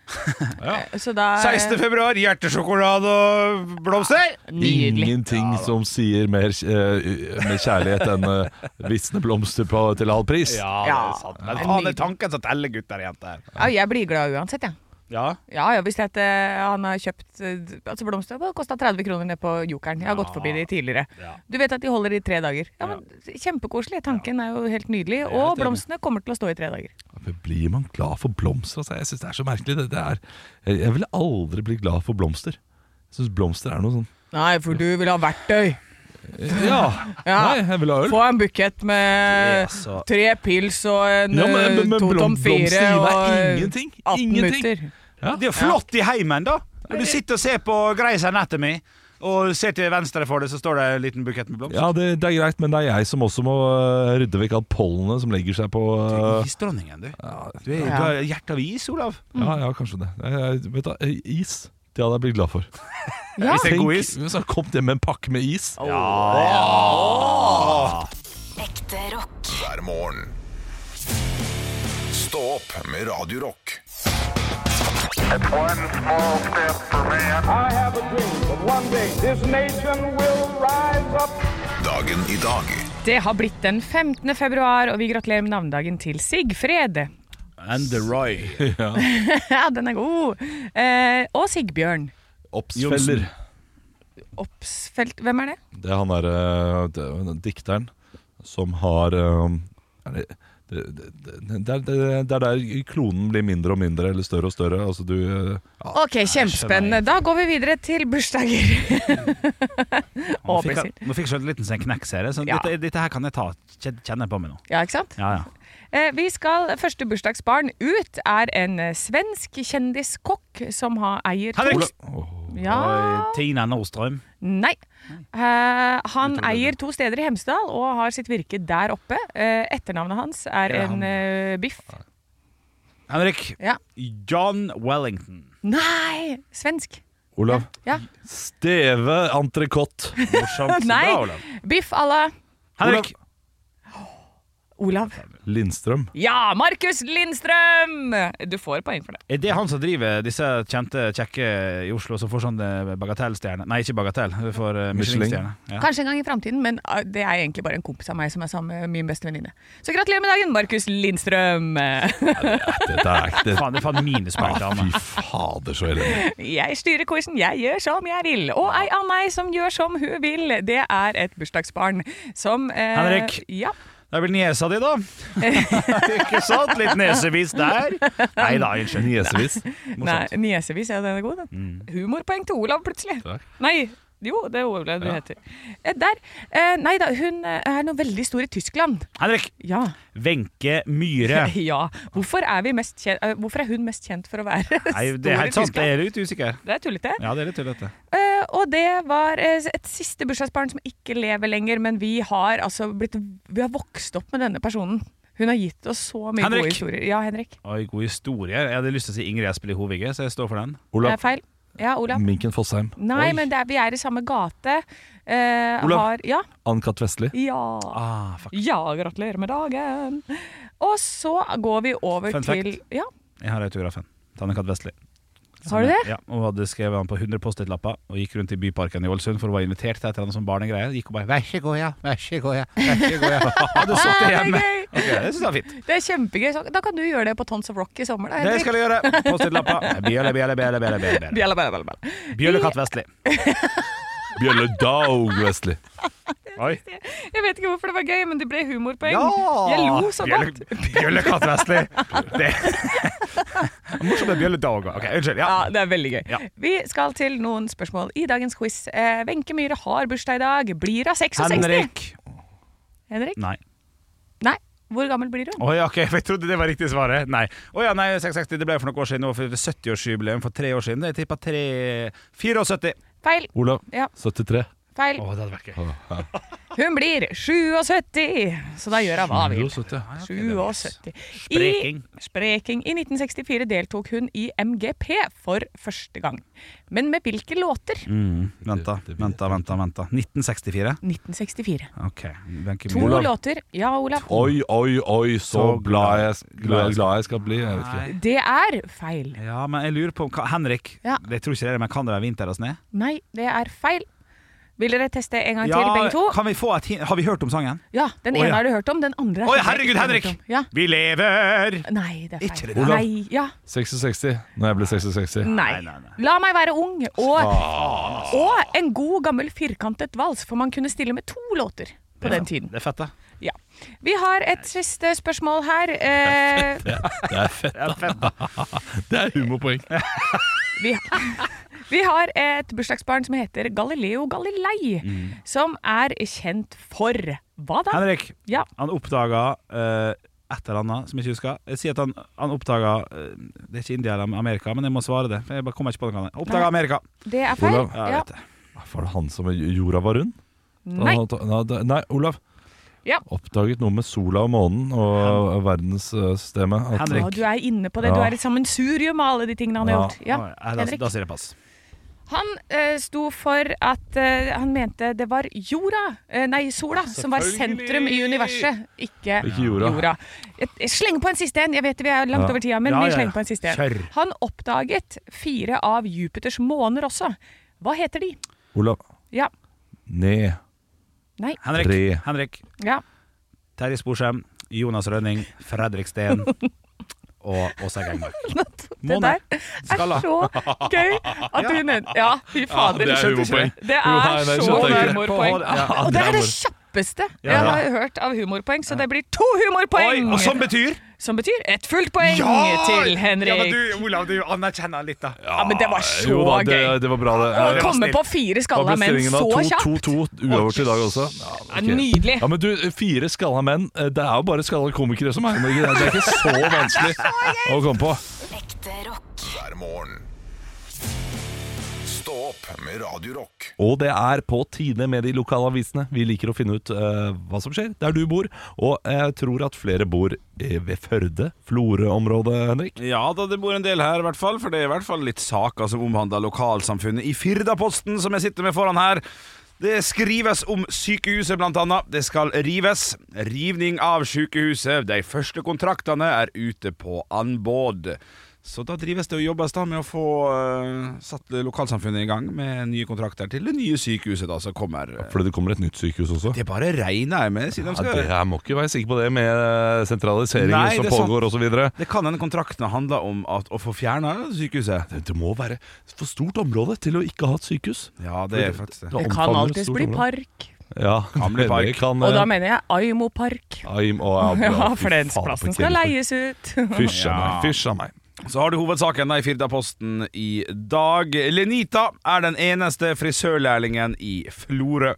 D: Eh, Så da
B: 16. februar, hjertesjokolade og blomster!
D: Nydelig.
C: Ingenting som sier mer, eh, mer kjærlighet enn eh, visne blomster på, til halv pris.
B: Ja,
D: Ja.
B: det er sant. Men faen, det er tanken som teller, gutter og jenter.
D: Ja, jeg blir glad uansett, jeg.
B: Ja.
D: Ja, ja, hvis jeg at eh, han har kjøpt eh, altså blomster Det kosta 30 kroner ned på Jokeren. Jeg har gått forbi de tidligere. Du vet at de holder i tre dager. Ja, men Kjempekoselig. Tanken er jo helt nydelig.
B: er helt
D: Og
B: enig.
D: blomstene kommer til å stå i tre dager.
C: Men Blir man glad for blomster? Altså, jeg synes det er så merkelig. Det, det er, jeg, jeg ville aldri bli glad for blomster. Jeg syns blomster er noe sånn
D: Nei, for du vil ha verktøy.
C: Ja!
D: Ja.
C: Nei, jeg vil ha øl.
D: Få en bukett
B: Det er
D: med
B: så-
D: tre pils og en
C: Ja, men- men- men
D: eh, to
C: blom-
D: tom
C: blomster
D: fire
C: gir meg
D: og
C: ingenting.
D: 18
C: Ingenting.
D: minutter.
B: Det er jo flott i heimen, da. Når du sitter og ser på Greys Anatomy, og ser til venstre for deg, så står det en liten bukett med blomster.
C: Ja, det, det er greit, men det er jeg som også må øh, rydde vekk alt pollenet som legger seg på øh,
B: Isdronningen, du.
C: ja,
B: Du, er, du har hjerte av is, Olav.
C: ja, ja, kanskje det. Jeg, jeg, vet du, hva, is. Det hadde jeg blitt glad for.
B: Hvis det er god is.
C: hvis jeg hadde kommet hjem med en pakke med is.
E: Ekte rock.
A: hver morgen. Stå opp med Radio Rock.
F: One small step for man. I have a dream that one day this nation will rise up.
A: Dagen i dag.
D: Det har blitt den 15. februar, og vi gratulerer med navnedagen til Sigfred.
B: And the Roy.
D: Ja, den er god. Eh, og Sigbjørn.
C: Oppsfeller.
D: Opsfelt Hvem er det?
C: Det er han derre den dikteren som har øh, er det, det, det, det, det, er- det, det er der klonen blir mindre og mindre, eller større og større. Altså du øh, ja,
D: Ok, kjempespennende. Da går vi videre til bursdager.
B: Nå
D: Og
B: fikk,
D: appelsin.
B: jeg- nå fikk selvtilliten seg en knekk, ser jeg. Så
D: Ja.
B: dette, dette her kan jeg ta. Kjen- Kjenner jeg på meg nå.
D: Ja, ikke sant?
B: Ja, ja.
D: Eh, Vi skal, Første bursdagsbarn ut er en eh, svensk kjendiskokk som har eier to-
B: Henrik!
D: Ja,
B: Og Tina Nordstrøm.
D: nei. Eh, han eier to steder i Hemsedal og har sitt virke der oppe. Eh, etternavnet hans er
B: Ja,
D: en
B: han-
D: eh, biff.
B: Henrik.
D: Ja.
B: John Wellington.
D: Nei! Svensk.
C: Olav.
D: Ja.
C: Steve entrecôte.
B: Morsomt.
D: Nei!
B: Bra, Olav.
D: Biff à la
B: Henrik.
D: Olav.
C: Lindstrøm.
D: Ja! Markus Lindstrøm! Du får poeng for det.
B: Er det han som driver disse kjente, kjekke i Oslo som får sånn eh, bagatellstjerne? Nei, ikke bagatell, for eh,
C: Michelin.
B: Michelin-stjerne. Ja.
D: Kanskje en gang i framtiden, men ah, det er egentlig bare en kompis av meg som er sammen med min beste venninne. Så gratulerer med dagen, Markus Lindstrøm!
C: Dette er ikke det.
B: Faen, det er faen minuspoeng til
C: Ah,
B: han. da.
C: fy fader, så elendig.
D: Jeg styrer quizen, jeg gjør som jeg vil. Og ei av meg som gjør som hun vil, det er et bursdagsbarn som eh,
B: Henrik.
D: Ja.
B: Det er vel niesa di, da. ikke sant? Litt nesevis der. Nei da, unnskyld.
C: Niesevis.
D: Nei, niesevis, ja, den er god, den. Humorpoeng til Olav, plutselig.
C: Takk.
D: Nei, jo, det er Olav du
C: Ja.
D: heter. Eh, der. Eh, nei da, hun eh, er noe veldig stor i Tyskland.
B: Henrik.
D: Ja.
B: Wenche Myhre.
D: ja. Hvorfor, er vi mest kjent, eh, hvorfor er hun mest kjent for å være
B: Nei, det er
D: stor
B: helt
D: i
B: sant. Det
D: Tyskland?
B: er litt usikker.
D: Det er tullete.
B: Ja, det er litt tullete.
D: Eh, og det var eh, et siste bursdagsbarn som ikke lever lenger, men vi har altså blitt Vi har vokst opp med denne personen. Hun har gitt oss så mye
B: Henrik.
D: gode historier. Ja, Henrik.
B: Oi, god historie. Jeg hadde lyst til å si Ingrid Espelid Hovige, så jeg står for den.
D: Det er
C: Olav.
D: Eh, feil. Ja, Olav.
C: Minken Fosheim.
D: Nei,
B: Mm. Oi.
D: men det er, vi er i samme gate. Eh,
C: Olav.
D: Har, ja.
C: Ann-Kat. Vestli.
D: Ja.
B: Ah, fuck.
D: ja, gratulerer med dagen. Og så går vi over
B: Fun fact.
D: til ja,
B: Jeg har autografen. Tanne-Kat. Vestli.
D: Har du det?
B: Ja, Hun hadde skrevet han på 100 Post-It-lapper og gikk rundt i Byparken i Ålesund, for hun var invitert til et eller annet sånn barnegreie. Gikk og bare 'Vær så god, ja. Vær så god, ja. Vær så god, ja'. Hadde sittet hjemme.
D: Hei,
B: Ok, det syns jeg er fint.
D: Det er kjempegøy. Så Da kan du gjøre det på Tons of Rock i sommer. Da,
B: Det
D: Henrik.
B: skal jeg gjøre. Post-It-lappa. Bjølle, bjølle, bjølle, bjølle, bjølle.
D: Bjella, bjella, bjella, bjella.
B: Bjøllekatt Vestli.
C: Bjølle Daug Vestli.
B: Oi.
D: Jeg vet ikke hvorfor det var gøy, men det ble humorpoeng.
B: Ja!
D: Jeg lo så
B: Bjølle-
D: godt.
B: Bjøllekatt Vestli. Det Morsomt med bjølledag òg. Ok, unnskyld.
D: Ja,
B: Ja.
D: det er veldig gøy.
B: Ja.
D: Vi skal til noen spørsmål i dagens quiz. Eh, Wenche Myhre har bursdag i dag. Blir hun 66?
B: Henrik.
D: Henrik?
B: Nei.
D: Nei. Hvor gammel blir hun?
B: Å ja, ok, for jeg trodde det var riktig svaret. Nei. Å ja, nei, 660, det ble for noen år siden. nå, for 70-årsjubileum for tre år siden. Jeg tippa 74.
D: Feil.
C: Olav.
D: Ja.
C: 73.
D: Feil.
B: Å, det hadde vært gøy.
D: Hun blir 77, så da gjør hun hva hun vil.
C: 70.
B: var
D: 77.
B: Spreking.
D: I, spreking. I 1964 deltok hun i MGP for første gang. Men med hvilke låter?
B: Mm, vent, da. Vent, da. vent da, vent da. 1964.
D: 1964.
B: Ok. Wenche
D: To
B: Myhre.
D: låter. Ja, Olav.
C: Oi, oi, oi, så
B: Så
C: glad jeg,
B: glad
C: glad,
B: jeg-
C: glad jeg skal bli. Jeg vet ikke.
D: Det er feil.
B: Ja, men jeg lurer på hva- Henrik,
D: Ja.
B: jeg tror ikke det, er det, men kan det være vinter og snø?
D: Nei, det er feil. Vil dere teste en gang til, begge to?
B: Ja, kan vi få et hint? Har vi hørt om sangen?
D: Ja, Den
B: Å,
D: ene
B: ja.
D: har du hørt om, den
B: Å
D: andre
B: ja,
D: har jeg
B: herregud,
D: ikke
B: Henrik!
D: hørt om. Ja.
B: Vi lever!
D: Nei, det er feil.
B: Ikke det
C: der.
D: Nei, ja.
C: 66, når jeg ble 66.
D: Nei.
B: Nei, nei, altså. nei.
D: La meg være ung, og, og en god gammel firkantet vals, for man kunne stille med to låter på den tiden.
B: Det er fett, da.
D: Ja. Vi har et siste spørsmål her. Eh,
C: Det er humorpoeng.
D: vi, vi har et bursdagsbarn som heter Galileo Galilei,
B: Mm.
D: som er kjent for hva da?
B: Henrik,
D: Ja.
B: han oppdaga eh, et eller annet som jeg ikke husker. Jeg sier at han, han oppdaga Det er ikke India eller Amerika, men jeg må svare det. For jeg bare kommer ikke på noe annet. Oppdaga
D: Nei.
B: Amerika.
D: Det er feil.
C: Olav,
B: Ja, jeg
D: ja.
B: vet det.
C: Var det han som jorda var rund?
D: Nei.
C: Nei, det- nei, Olav.
D: Ja.
C: Oppdaget noe med sola og månen og verdenssystemet. At-
B: Henrik.
D: Å, du er inne på det. Du
C: Ja.
D: er et sammensurium av alle de tingene han har
C: Ja.
D: gjort. Ja,
B: Å, ja, altså, da,
D: Henrik.
B: da sier jeg pass.
D: Han eh, sto for at eh, han mente det var jorda, eh, nei, sola, som var sentrum i universet, ikke,
C: Ikke jorda.
D: Jeg, jeg slenger på en siste en. Jeg vet vi er langt
C: Ja.
D: over tida, men
B: Ja, ja,
D: vi
B: ja.
D: slenger på en siste en.
B: Kjør.
D: Han oppdaget fire av Jupiters måner også. Hva heter de?
C: Olav.
D: Ja.
C: Ned.
D: Nei.
B: Henrik,
C: Tre.
B: Henrik
D: Ja.
B: Terje Sporsem, Jonas Rønning, Fredrik Steen og Åsa Gengmark.
D: Det
B: Måne.
D: der er så gøy at hun Ja, fy fader.
C: det er
D: skjønte ikke
C: humorpoeng.
D: Det
C: Jo, nei, nei,
D: er så
C: skjønte jeg ikke.
D: humorpoeng.
B: Ja,
D: Og det er
C: det er
D: det
C: bare-
D: kjappeste
B: Ja.
D: jeg har hørt av humorpoeng, så det blir to
B: Oi,
D: humorpoeng!
B: og som betyr
D: Som betyr ett fullt poeng til Henrik.
B: Ja, men du, Olav, du anerkjenner litt, da.
D: Ja, men det var så
C: Jo da,
D: gøy.
C: det, det var bra, det.
D: Å
C: Ja,
D: komme
B: snilt.
D: på fire
C: Da
D: skalla
C: ble
D: menn
C: stillingen da
D: så
C: 2-2
D: kjapt.
C: uavgjort i dag også. Ja,
D: Ja,
C: ok.
D: Nydelig.
C: Ja, men du, Fire skalla menn. eh, Det er jo bare skalla komikere som er med. Det er ikke så vanskelig å komme på.
E: Ekte rock.
A: hver morgen. Stå opp opp med Radio Rock.
C: Og det er på tide med de lokale avisene. Vi liker å finne ut eh, hva som skjer der du bor. Og jeg tror at flere bor eh, ved Førde, Florø-området, Henrik.
B: Ja da, det bor en del her i hvert fall, for det er i hvert fall litt saker som omhandler lokalsamfunnet. I Firdaposten, som jeg sitter med foran her, det skrives om sykehuset blant annet. Det skal rives. Rivning av sykehuset. De første kontraktene er ute på anbud. Så da drives det og jobbes da med å få eh, satt lokalsamfunnet i gang med nye kontrakter til det nye sykehuset da, som kommer. eh.
C: Fordi det kommer et nytt sykehus også.
B: Det bare regner jeg med, siden de
C: Ja,
B: skal
C: det jeg må ikke være sikker på det med eh, sentraliseringen
B: Nei,
C: som
B: det er sant.
C: pågår osv.
B: Det kan hende kontraktene handler om at, å få fjerna sykehuset.
C: Det må være for stort område til å ikke ha et sykehus.
B: Ja, det er faktisk det.
D: Det kan
C: omfavner et
D: alltids
C: stort
D: bli
C: område.
D: park.
C: Ja,
B: Kan bli park.
C: det kan,
D: Og da
C: eh,
D: mener jeg Aimo-park.
C: Aim og
D: Ja, Flensplassen skal leies ut.
C: Fysj a
B: Ja.
C: meg, fysj a meg.
B: Så har du hovedsaken da i Firdaposten i dag. Lenita er den eneste frisørlærlingen i Florø.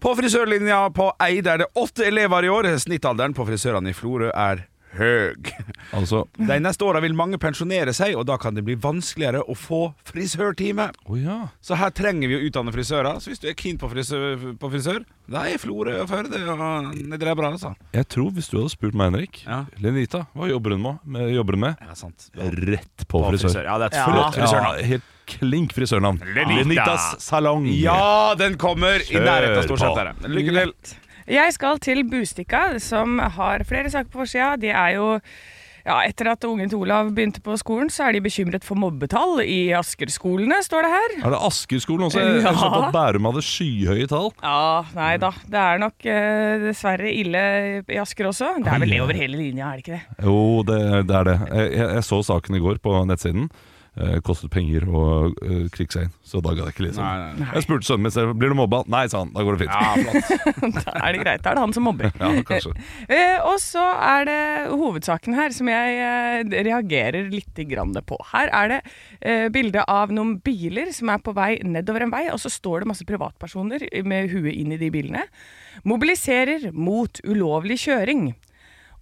B: På frisørlinja på Eid er det åtte elever i år. Snittalderen på frisørene i Florø er høg.
C: Altså
B: De neste åra vil mange pensjonere seg, og da kan det bli vanskeligere å få frisørtime.
C: Å ja.
B: Så her trenger vi å utdanne frisører. Så hvis du er keen på frisør, på frisør da er Florø og Førde og Nedre Ebra, altså.
C: Jeg tror hvis du hadde spurt meg, Henrik
B: Ja.
C: Lenita, hva jobber hun med? med, jobber hun med?
B: Ja, sant.
C: Rett på,
B: På
C: frisør.
B: frisør. Ja, det er et
D: Ja.
B: flott frisørnavn.
C: Ja, helt klink frisørnavn.
B: Lenita.
C: Lenitas salong.
B: Ja, den kommer i
C: Kjør
B: nærheten av
C: på.
B: Storsenteret. Lykke til.
D: Jeg skal til Bustikka, som har flere saker på forsida. De er jo ja, Etter at ungen til Olav begynte på skolen, så er de bekymret for mobbetall i Asker-skolene, står det her.
C: Er det Asker-skolen også? Jeg
D: Ja.
C: jeg skjønte at Bærum hadde skyhøye tall.
D: Ja, nei da. Det er nok eh, dessverre ille i Asker også. Det er vel det over hele linja, er det ikke det?
C: Jo, det, det er det. Jeg, jeg, jeg så saken i går på nettsiden. Eh, kostet penger å eh, klikke seg inn, så da gadd jeg ikke lese
B: Nei, nei,
C: den. Jeg spurte sønnen min selv blir du mobba. Nei, sa han. Da går det fint.
B: Ja, flott.
D: Da er det greit. Da er det han som mobber.
C: Ja, kanskje.
D: Eh, og så er det hovedsaken her som jeg eh, reagerer litt grann på. Her er det eh, bilde av noen biler som er på vei nedover en vei, og så står det masse privatpersoner med huet inn i de bilene. Mobiliserer mot ulovlig kjøring.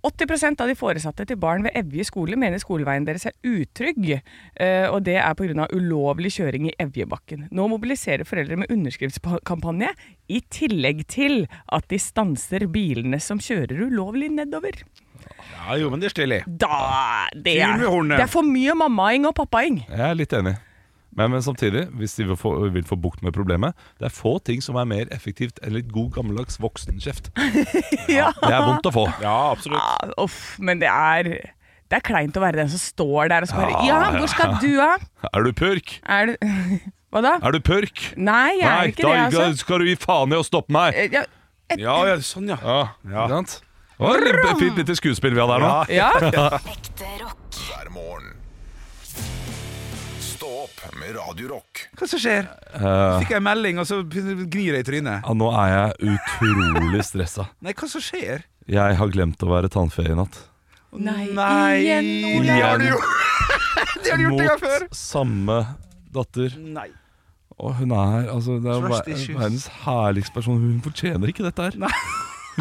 D: 80 av de foresatte til barn ved Evje skole mener skoleveien deres er utrygg, eh, og det er pga. ulovlig kjøring i Evjebakken. Nå mobiliserer foreldre med underskriftskampanje, i tillegg til at de stanser bilene som kjører ulovlig nedover.
B: Ja, jo, men det er stilig.
D: Da, det,
B: Fyr
D: er,
B: med hornet.
D: det er for mye mammaing og pappaing.
C: Jeg er litt enig. Men, men samtidig, hvis de vil få, vil få bukt med problemet Det er få ting som er mer effektivt enn litt god gammeldags voksenkjeft.
D: Ja.
C: Det er vondt å få.
B: Ja, absolutt.
D: Ah, uff, men det er, det er kleint å være den som står der og spør Ja, hvor skal du, da?
C: Er du purk?
D: Er du Hva da?
C: Er du purk?
D: Nei, jeg er ikke
C: da
D: det, altså.
C: skal du gi faen i å stoppe meg!
D: Eh, Ja,
B: Ja, ja, sånn, ja.
C: Ja,
B: Ja.
C: ikke sant? Det var et litt- fint lite skuespill vi hadde her nå.
D: ja.
E: Ekte rock.
A: hver morgen. Stå opp med Radio Rock.
B: Hva som skjer? Fikk jeg en melding, og så gnir jeg i trynet.
C: Ja, nå er jeg utrolig stressa.
B: Nei, hva som skjer?
C: Jeg har glemt å være tannfee i natt.
D: Nei,
B: Nei.
D: igjen, Olav.
B: Det har du
C: Igjen.
B: gjort! Det har du gjort en gang før.
C: Mot samme datter.
B: Nei.
C: Og hun er altså det er
B: Trust
C: ver-
B: issues.
C: verdens herligste person. Hun fortjener ikke dette her.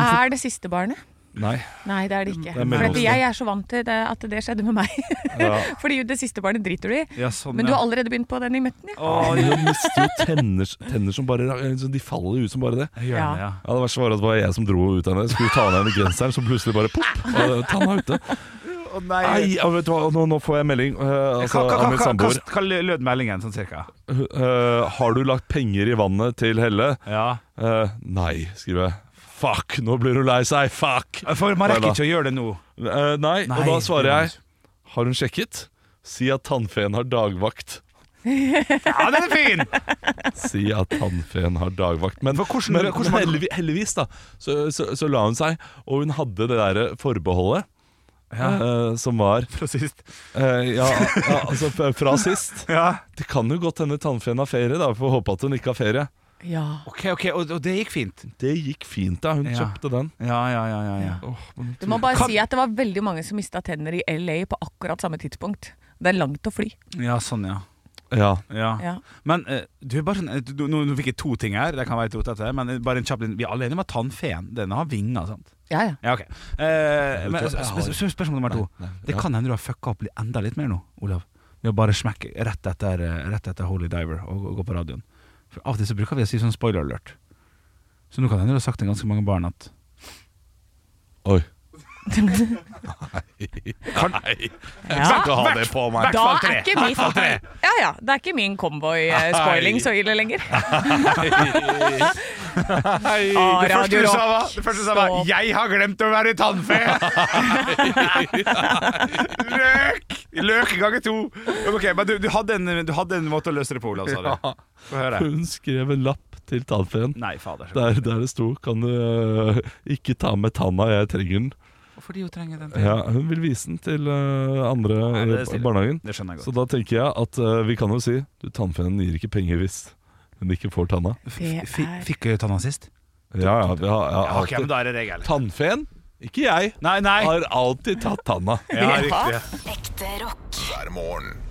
G: Er det siste barnet?
C: Nei.
G: Nei, det er det ikke.
C: Det er mellomste.
G: Fordi jeg er så vant til det, at det skjedde med meg. Fordi det siste barnet driter du i.
B: Ja, sånn,
G: Men du
B: ja.
G: har allerede begynt på den i møtten, ja.
B: Å,
C: Hun mister jo tenner, tenner som bare liksom, De faller ut som bare det.
B: jeg gjør det, ja.
C: Ja, Det verste var at det var jeg som dro ut henne. Skulle ta ned henne genseren, så plutselig bare popp! og Tanna ute.
B: Å, nei.
C: Nei, ja, vet du hva, nå, nå får jeg melding eh, altså,
B: Hva, hva,
C: av
B: hva,
C: min
B: hva,
C: samboer.
B: hva lød meldingen, sånn cirka?
C: Eh, har du lagt penger i vannet til Helle?
B: Ja.
C: Eh, nei, skriver jeg. Fuck, nå blir hun lei seg! Fuck!
B: For man rekker
C: Hva da?
B: ikke å gjøre det nå.
C: Eh, nei,
B: Nei,
C: og da svarer
B: det er
C: jeg Har hun sjekket? Si at tannfeen har dagvakt.
B: Ja, den er fin!
C: Si at tannfeen har dagvakt. Men,
B: For hvordan-
C: men,
B: hvordan-
C: men heldigvis, heldigvis da, så, så, så la hun seg, og hun hadde det der forbeholdet. eh, som var
B: Fra sist.
C: eh, ja, ja, altså fra fra sist.
B: Ja.
C: Det kan jo godt hende tannfeen har ferie, da. Vi får håpe at hun ikke har ferie.
D: Ja.
B: Ok, ok, og, og det gikk fint.
C: Det gikk fint, da. Hun
B: Ja.
C: kjøpte den.
B: Ja, ja, ja, ja, ja.
G: Du må bare
B: Kan-
G: si at det var veldig mange som mista tenner i LA på akkurat samme tidspunkt. Det er langt å fly.
B: Ja, sånn, ja.
C: Ja.
B: Ja.
G: Ja.
B: Men eh, du er bare sånn eh, du, nå, nå fikk jeg to ting her, det kan være rotete, men eh, bare en kjapp liten Vi er alle enige om at tannfeen den har vinger, sant?
G: Ja, ja.
B: Ja, ok. Eh, men
C: Jeg har-
B: sp- sp- spørsmål nummer to.
C: Nei,
B: Det
C: ja.
B: kan hende du har fucka opp litt- enda litt mer nå, Olav. Ved å bare smekke rett etter, eh, rett etter Holy Diver og, og gå på radioen. For Av og til så bruker vi å si sånn spoiler alert. Så nå kan hende du har sagt til ganske mange barn at
C: Oi.
D: Ja.
C: Ikke ha det på meg.
D: Da er ikke min Ja, ja, det er ikke min
G: eh,
D: cowboy-spoiling så ille lenger. Ah,
B: Det første
D: Radio
B: du sa
D: Rock.
B: var, det første du sa var
D: Stopp.
B: 'Jeg har glemt å være tannfe'! Løk! Løk ganger to. Ok, men du, du, hadde en, du hadde en måte å løse det på, Olav, sa du.
C: Ja.
B: Få høre.
C: Hun skrev en lapp til tannfeen
B: Nei, fader.
C: der, der det sto 'Kan du øh, ikke ta med tanna, jeg trenger den'.
B: Hvorfor de jo trenger den?
C: Ja, hun vil vise den til øh, andre
B: det er
C: i
B: stilig.
C: barnehagen.
B: Det skjønner jeg
C: Så
B: godt.
C: da tenker jeg at øh, vi kan jo si Du, tannfeen gir ikke penger hvis hun ikke får tanna.
D: Det
B: F-
D: er
B: Fikk jeg tanna sist?
C: Ja, ja, vi har, ja,
B: Ja, ok, men
C: alltid.
B: da er det regel.
C: Tannfeen, ikke jeg,
B: Nei, nei.
C: har alltid tatt tanna.
B: Ja, riktig.
E: Ekte rock.
A: hver morgen.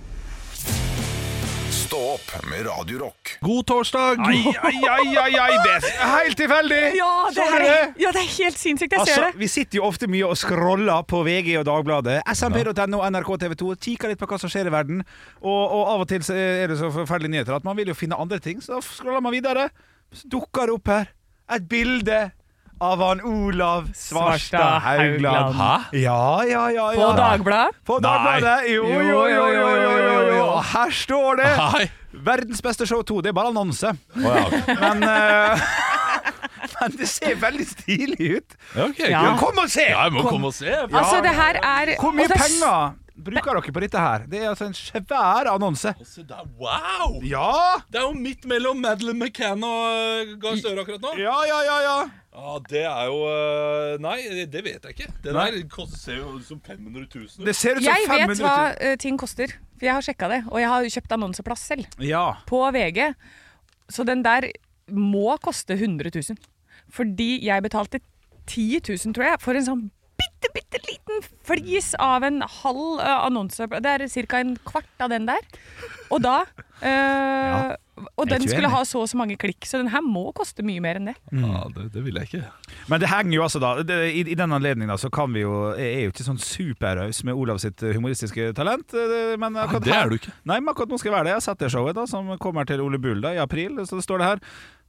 A: Stå opp med Radio Rock.
C: God torsdag!
B: Ai, ai, ai, ai, ai, det er helt tilfeldig!
D: Ja, det
B: Sånn
D: er,
B: det.
D: ja, det er helt sinnssykt. Jeg ser
B: Altså,
D: det.
B: vi sitter jo ofte mye og scroller på VG og Dagbladet, smp.no, NRK TV 2, kikker litt på hva som skjer i verden. Og, og av og til så er det så forferdelige nyheter at man vil jo finne andre ting, så da scroller man videre. Så dukker det opp her et bilde av han Olav Svarstad
D: Svarstad
B: Haugland.
D: Haugland.
B: Hæ? Ja, ja, ja, ja.
D: På Dagbladet.
B: På Dagbladet. Jo, jo, jo, jo, jo, jo, jo, jo. Og Her står det!
C: Hei.
B: Verdens beste show 2. Det er bare annonse.
C: Å, ja, ok.
B: Men, eh, men det ser veldig stilig ut.
C: Ja, ok,
D: Ja.
C: kult.
B: Kom og se!
C: Ja, jeg må komme og se.
D: Altså, det her er altså,
B: Hvor mye
D: og det er s-
B: penger bruker dere på dette her? Det er altså en svær annonse.
C: Se der, Wow!
B: Ja!
C: Det er jo midt mellom Madeleine McCann og eh, Gahr Støre akkurat nå.
B: Ja, ja, ja, ja.
C: Ja, Det er jo øh, Nei, det vet jeg ikke. Det
B: Nei.
C: der koster ser jo ut som 500 000.
B: Det ser ut som
D: Jeg
B: 500
D: vet hva eh, ting koster, for jeg har sjekka det. Og jeg har jo kjøpt annonseplass selv,
B: Ja.
D: på VG. Så den der må koste 100 000. Fordi jeg betalte 10 000, tror jeg, for en sånn bitte, bitte liten flis av en halv eh, annonse. Det er ca. en kvart av den der. Og da eh,
B: jeg
D: Og
B: er
D: den
B: ikke
D: skulle
B: uenig.
D: ha så og så mange klikk, så den her må koste mye mer enn det.
C: Ja, det, det vil jeg ikke.
B: Men det henger jo altså da det, I, i den anledningen da, så kan vi jo Jeg er jo ikke sånn superraus med Olav sitt humoristiske talent. eh, Men akkurat
C: det er
B: her-
C: du ikke.
B: Nei, men akkurat nå skal jeg være det. Jeg har sett det showet da som kommer til Ole Bull da i april. Så det står det her.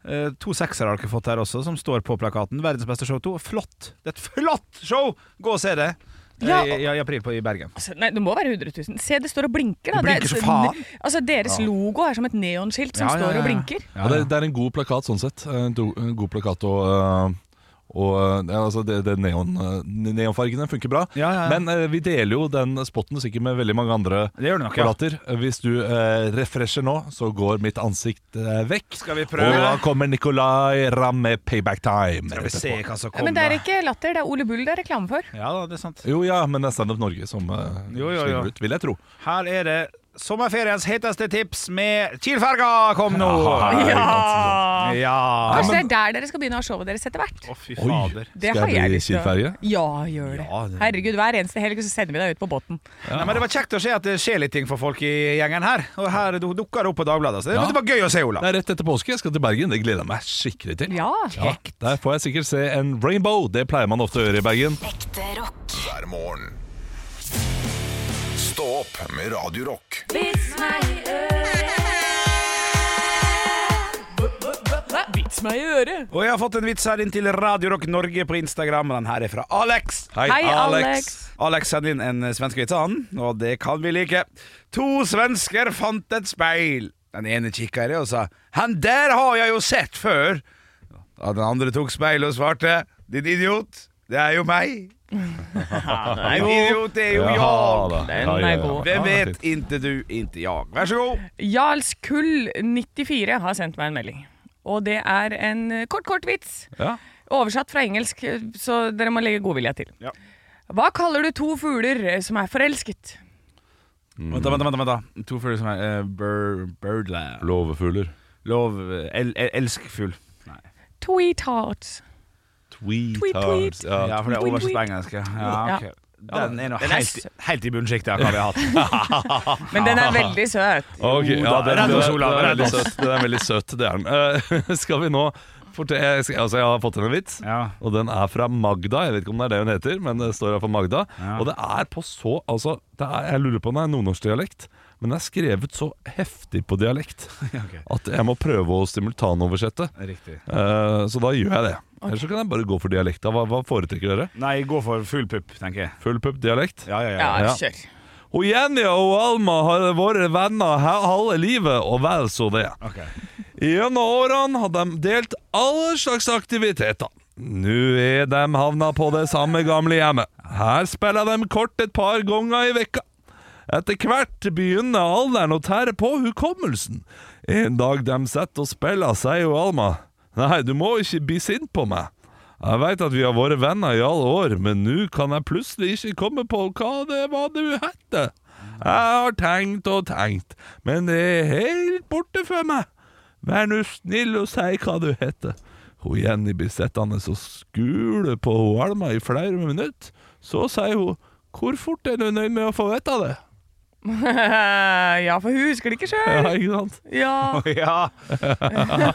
B: Eh, To seksere har dere fått her også, som står på plakaten. 'Verdens beste show 2'. Flott! Det er et flott show! Gå og se det. Eh,
D: Ja.
B: I, i april på, i Bergen.
D: Altså, nei, det må være 100 000. Se, det står og blinker. Da.
B: Det blinker så
D: er-
B: faen.
D: Altså, deres logo er som et neonskilt som
B: Ja, ja,
D: står
B: ja, ja.
D: og blinker.
B: Ja,
C: Ja, det,
B: ja.
C: det er en god plakat sånn sett. En do- en god plakat og, øh, og øh, ja, altså det, det neon, øh, neonfargene funker bra.
B: Ja, ja, ja.
C: Men øh, vi deler jo den spotten sikkert med veldig mange andre
B: Det gjør du nok, ja.
C: plakater. Hvis du øh, refresher nå, så går mitt ansikt øh, vekk.
B: Skal vi prøve?
C: Og da kommer Nicolay Ramm med Payback Time.
B: Skal vi se hva som
D: Ja,
B: kommer.
D: men det er ikke latter, det er Ole Bull det er reklame for.
B: Ja da, det er sant.
C: Jo ja, men det er Standup Norge som uh,
B: Jo, jo, jo.
C: ut, vil jeg tro.
B: Her er det sommerferiens heteste tips med Kielferga kom nå!
D: Ja!
B: Ja.
D: Kanskje Altså, det er der dere skal begynne å ha showet deres etter hvert.
B: Å, fy
C: Oi,
B: fader.
D: Det
C: skal
D: har
C: jeg
D: jeg
C: bli
D: lyst til å-
C: Kielferge?
D: Ja, gjør det.
B: Ja, det-
D: Herregud, hver eneste helg så sender vi deg ut på båten.
B: Nei, men det var kjekt å se at det skjer litt ting for folk i gjengen her. Og her du- dukker det opp på Dagbladet. Så det,
C: Ja.
B: det var gøy å se,
C: Det
B: Olav.
C: er rett etter påske. Jeg skal til Bergen. Det gleder jeg meg skikkelig til.
D: Ja.
C: Ja, der får jeg sikkert se en rainbow. Det pleier man ofte å gjøre i Bergen.
E: Ekte rock.
A: hver morgen. Stå opp med Radio Rock.
D: Vits meg i øret.
B: Og jeg har fått en vits her inn til Radio Rock Norge på Instagram. og Den her er fra Alex.
D: Hei, Alex.
B: Alex sender inn en svensk vits han, og det kan vi like. To svensker fant et speil. Den ene kikka i det og sa 'Han der har jeg jo sett før'. Ja, den andre tok speilet og svarte 'Din idiot, det er jo meg'. Din idiot, det er jo
C: Ja,
B: jeg.
C: da.
D: Den
C: Ja, ja, ja.
D: er god.
B: Hvem
C: Ja, det er
B: vet?
C: fint.
B: Inte du, inte jag. Vær så god.
D: Jarlskull94 har sendt meg en melding. Og det er en kort, kort vits.
C: Ja.
D: Oversatt fra engelsk, så dere må legge godvilja til.
B: Ja.
D: Hva kaller du to fugler som er forelsket?
C: Mm.
B: Vent, da, vent, da, vent, da, vent. da. To fugler som er eh, bir, Birdland
C: Låvefugler.
B: Lov el, el, Elskfugl.
D: Tweetards. Tweet, tweet.
C: Ja.
B: Ja, for det er oversatt på engelsk. ja. Ja, ok.
D: Ja.
B: Den er nå
D: Den er
B: helt,
D: s-
B: helt i bunnsjiktet av hva vi har hatt.
D: Men den er veldig søt.
C: Ok, ja,
B: Redd oss, Olav,
C: den er
B: redd
C: veldig
B: oss.
C: søt. Den er veldig søt, det er den. Eh, skal vi nå Fortell- jeg, skal- altså, jeg har fått en vits,
B: Ja.
C: og den er fra Magda. Jeg vet ikke om det er det hun heter, men det står her for Magda. Og det er på så altså, det er, Jeg lurer på om det er nordnorskdialekt, men det er skrevet så heftig på dialekt
B: ok.
C: at jeg må prøve å simultanoversette.
B: Riktig.
C: Eh, så da gjør jeg det. Ellers så kan jeg bare gå for dialekta. Hva, hva foretrekker dere?
B: Nei, gå for full pupp, tenker jeg.
C: Full pupp-dialekt?
B: Ja, ja, ja.
G: Ja,
C: Ja.
G: kjør.
C: Og Jenny og Alma har vært venner he- halve livet, og vel så det.
B: Ok.
C: Gjennom årene har de delt alle slags aktiviteter. Nå er de havna på det samme gamle hjemmet. Her spiller de kort et par ganger i vekka. Etter hvert begynner alderen å tære på hukommelsen. En dag de sitter og spiller, sier jo Alma. Nei, du må ikke bli sint på meg. Jeg veit at vi har vært venner i alle år, men nå kan jeg plutselig ikke komme på hva det var du het. Jeg har tenkt og tenkt, men det er helt borte for meg. Vær nå snill og si hva du heter. Hun Jenny blir sittende og skule på hun Alma i flere minutter. Så sier hun Hvor fort er du nøyd med å få vite det?
D: ja, for hun husker det ikke sjøl.
C: Ja, ikke sant?
D: Ja.
B: Ja.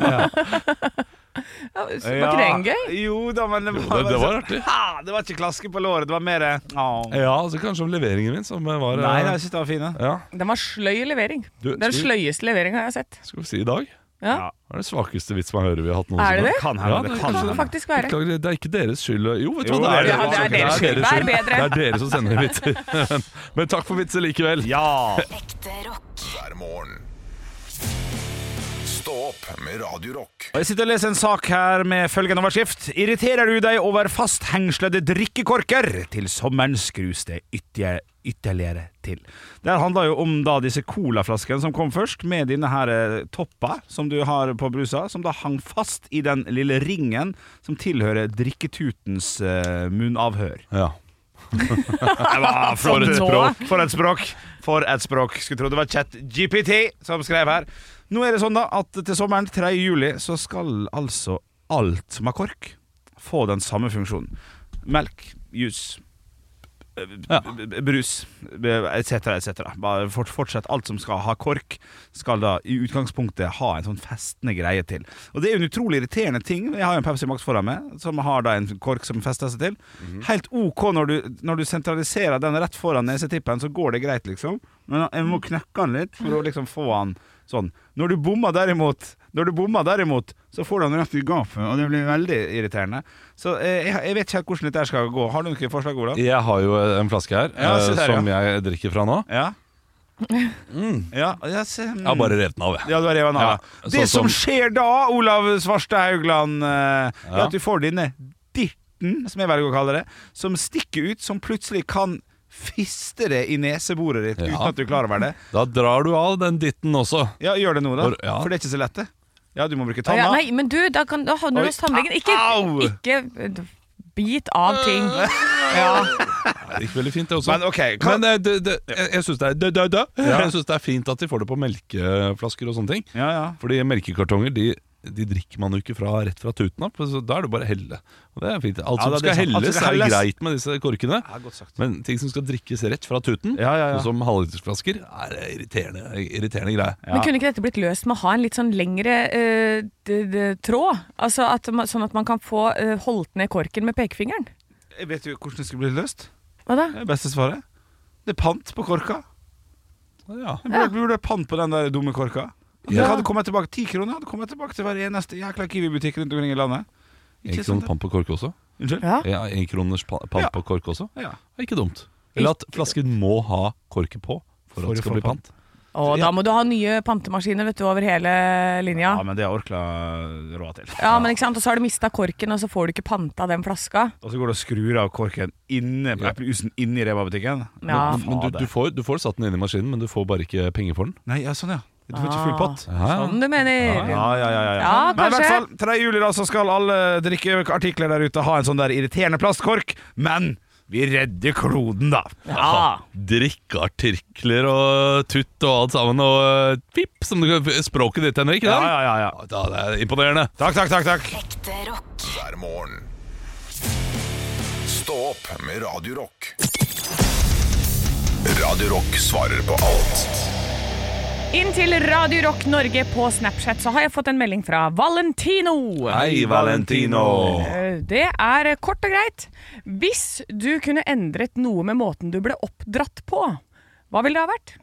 D: Var ikke det en gøy?
B: Jo da, men det sånn,
C: det- det var artig.
B: Ha, det var ikke klaske på låret, det var mer Au.
C: Ja, så kanskje om leveringen min, som var eh,
B: Nei, nei, jeg syns det var fine.
C: Ja,
D: Den var sløy levering.
C: Du, skal
D: Den
C: vi-
D: sløyeste leveringa jeg har sett.
C: skal vi si i dag?
D: Ja.
B: Ja.
C: Det er den svakeste vitsen man hører vi har hatt
D: Er det
C: noensinne.
D: det?
B: Kan
C: Ja,
B: hende.
C: det
B: det
C: kan
B: kan
D: Kan det
B: hende.
D: faktisk være.
C: Beklager, det er ikke deres skyld. Jo, vet du
B: Jo,
C: hva, det er,
B: det er- ja, det er deres
D: skyld. Vær bedre.
C: Det er dere som sender vitser. Men takk for vitser likevel.
B: Ja.
E: Ekte rock.
A: hver morgen. Stå opp med Radio Rock.
B: Og Jeg sitter og leser en sak her med følgende overskrift. Irriterer du deg over fasthengslede drikkekorker? Til sommeren skrus det ytje- ytterligere til. Det her handler jo om da disse colaflaskene som kom først, med denne her eh, toppa som du har på brusa, som da hang fast i den lille ringen som tilhører drikketutens eh, munnavhør.
C: Ja.
B: Det var for et
D: Nå.
B: språk. For et språk. For et språk. Skulle tro det var ChatGPT som skrev her. Nå er det sånn da at til sommeren 3. juli så skal altså alt som har kork, få den samme funksjonen. Melk, jus, eh, b- b- brus etc. etc. Bare fort- Fortsett. Alt som skal ha kork, skal da i utgangspunktet ha en sånn festende greie til. Og det er jo en utrolig irriterende ting. Jeg har jo en Pepsi Max foran meg, som har da en kork som fester seg til. Helt OK når du, når du sentraliserer den rett foran nesetippen, så går det greit, liksom. Men jeg må knekke den litt for å liksom få den sånn. Når du bommer derimot når du bommer derimot, så får du den rett i gapet, og det blir veldig irriterende. Så eh, jeg, jeg vet ikke helt hvordan dette her skal gå. Har du noen forslag, Olav?
C: Jeg har jo en flaske her
B: Ja, se
C: eh,
B: der, ja.
C: som jeg drikker fra nå.
B: Ja. Ja, jeg ser-
C: Jeg har Mm. bare revet den av, jeg.
B: Ja, du har revet den av.
C: Ja,
B: ja.
C: sånn
B: det som
C: som-
B: skjer da, Olav Svarstad Haugland, eh, er
C: Ja.
B: at du får denne dirten, som jeg velger å kalle det, som stikker ut, som plutselig kan fiste det i neseboret ditt
C: Ja.
B: uten at du er klar over det.
C: Da drar du av den ditten også.
B: Ja, gjør det nå, da.
C: For- ja.
B: For det er ikke så lett, det. Ja, du må bruke
G: Ja,
B: tanna.
G: nei, men du, da, kan, da havner
B: Oi.
G: du hos tannlegen. Ikke,
B: Au!
G: ikke eh, bit av ting.
C: Det gikk veldig fint, det også.
B: Men
C: Men,
B: ok, kan,
C: eh, det, det, jeg, jeg syns det, er- det, det, det. Jeg synes det er fint at de får det på melkeflasker og sånne ting.
B: ja, ja.
C: Fordi melkekartonger de, de drikker man jo ikke fra, rett fra tuten av, så da er det bare å helle. Og det er fint. Alt
B: Ja,
C: som
B: det
C: skal
B: er det sant. Alt
C: helles,
B: skal
C: er
B: helles.
C: greit med disse korkene.
B: Ja, godt sagt.
C: Men ting som skal drikkes rett fra tuten,
B: Ja, ja, ja.
C: sånn som halvlitersflasker, er irriterende, irriterende greie.
B: Ja.
G: Men kunne ikke dette blitt løst med å ha en litt sånn lengre eh, d- d- tråd? Altså at man, sånn at man kan få eh, holdt ned korken med pekefingeren?
B: Jeg vet jo hvordan det skulle bli løst.
G: Hva da?
B: Det er beste svaret. Det er pant på korka.
C: Ja.
B: Vi burde, vi burde ha pant på den der dumme korka. Det hadde kommet tilbake Ti kroner hadde kommet tilbake til hver eneste jækla Kiwi-butikk rundt omkring i landet. Ikke
C: En
B: sant,
C: kroner pamp på kork også.
B: Unnskyld?
G: Ja.
C: Ja, en kroners pa- pamp
B: Ja.
C: på kork også.
B: Ja.
C: Er ikke dumt. Eller at flasken må ha korket på for
B: For
C: at
B: å
C: det skal
B: få
C: bli pant.
G: Og da må du ha nye pantemaskiner vet du, over hele linja.
B: ja, men det har Orkla råd til.
G: Ja, men ikke sant? Og så har du mista korken, og så får du ikke panta den flaska.
B: Og så går det og skrur av korken inne på
C: Ja.
B: eplejusen inne i Reba-butikken.
G: Ja.
C: Men du, du, får, du får satt den inn i maskinen, men du får bare ikke penger for den.
B: Nei, ja, sånn ja. Du får ikke full pott.
C: Ja.
G: Sånn du mener.
B: Ja, ja, ja, ja.
G: Ja,
B: Men i
G: kanskje.
B: hvert fall, 3. juli da, så skal alle drikkeartikler der ute ha en sånn der irriterende plastkork, men vi redder kloden, da.
G: Ja.
C: Drikkeartikler og tutt og alt sammen, og eh, pip, som du, språket ditt, Henrik.
B: Ja,
C: der.
B: ja, ja, ja.
C: Da, det er imponerende.
B: Takk, takk, takk. takk.
E: Ekte rock.
A: hver morgen. Stå opp med Radio Rock. Radio Rock svarer på alt.
D: Inn til Radio Rock Norge på Snapchat så har jeg fått en melding fra Valentino.
C: Hei, Valentino.
D: Eh, Det er eh, kort og greit. Hvis du kunne endret noe med måten du ble oppdratt på, hva ville det ha vært?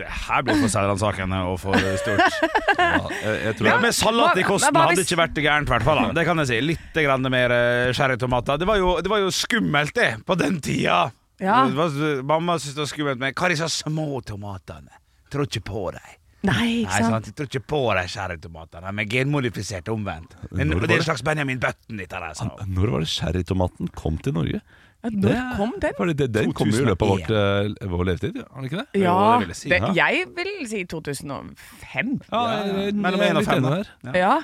B: Det her blir for Sædland-sakene og for stort.
C: Jeg tror
B: Ja,
C: jeg,
B: men salat i kosten
D: Men hva
B: hadde
D: hvis-
B: ikke vært gærent, i hvert fall. da. Det kan jeg si. Litt grann mer eh, sherrytomater. Det, var jo- det var jo skummelt, det, på den tida.
D: Ja.
B: Det var, mamma syntes det var skummelt med Hva er disse små tomatene? Tror ikke på dem.
D: Nei,
B: Nei, sant? Jeg tror ikke på de sherrytomatene. Men genmodifisert omvendt. Men,
C: Når
B: det er
C: var
B: en slags Benjamin Button, dette her. altså. sa hun.
C: Når var det sherrytomaten kom til Norge?
D: Ja, Når kom den?
C: Fordi det, den kom jo i løpet av vårt, eh, vår levetid, har den ikke det?
D: Ja,
B: det vil jeg si,
D: det,
C: ja.
D: jeg vil si 2005.
C: Ja, jeg er
B: Mellom en og
C: litt
B: fem,
C: enig
B: da.
C: der.
D: Ja.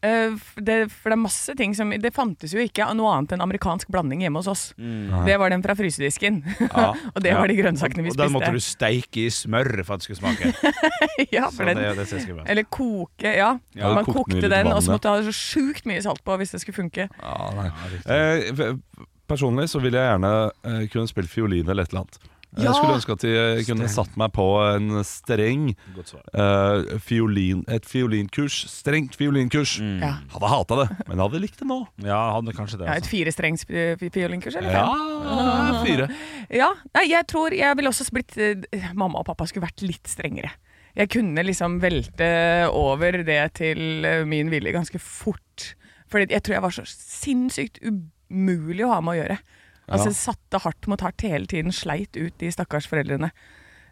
D: Eh, f- det, for det er masse ting som Det fantes jo ikke noe annet enn amerikansk blanding hjemme hos oss. Det var den fra frysedisken. og det
B: Mm. Ja.
D: var de grønnsakene vi
B: Og den måtte du
D: spiste.
B: steike i smør for at det skulle smake.
D: ja,
B: Så
D: for
B: det,
D: den,
B: det ser skummelt.
D: eller koke, ja.
C: Ja,
D: Man
C: kokte den i
D: kokte
C: litt
D: den,
C: vann,
D: og så
C: ja.
D: måtte du ha så sjukt mye salt på hvis det skulle funke.
C: Ja, nei. Eh, f- personlig så ville jeg gjerne eh, kunne spilt fiolin eller et eller annet.
D: Ja!
C: Jeg skulle ønske at de eh, kunne satt meg på en streng
B: Godt svar.
C: eh, fiolin, Et fiolinkurs, strengt fiolinkurs.
D: Ja.
C: Hadde hata det, men hadde likt det nå.
B: Ja, hadde kanskje det.
D: Ja,
B: Altså.
D: et firestrengs pi- pi- fiolinkurs, eller?
C: Ja,
D: fem?
C: fire.
D: ja. Nei, jeg tror jeg ville også blitt eh, Mamma og pappa skulle vært litt strengere. Jeg kunne liksom velte over det til eh, min vilje ganske fort. Fordi jeg tror jeg var så sinnssykt umulig å ha med å gjøre. Altså Satte hardt mot hardt hele tiden, sleit ut de stakkars foreldrene.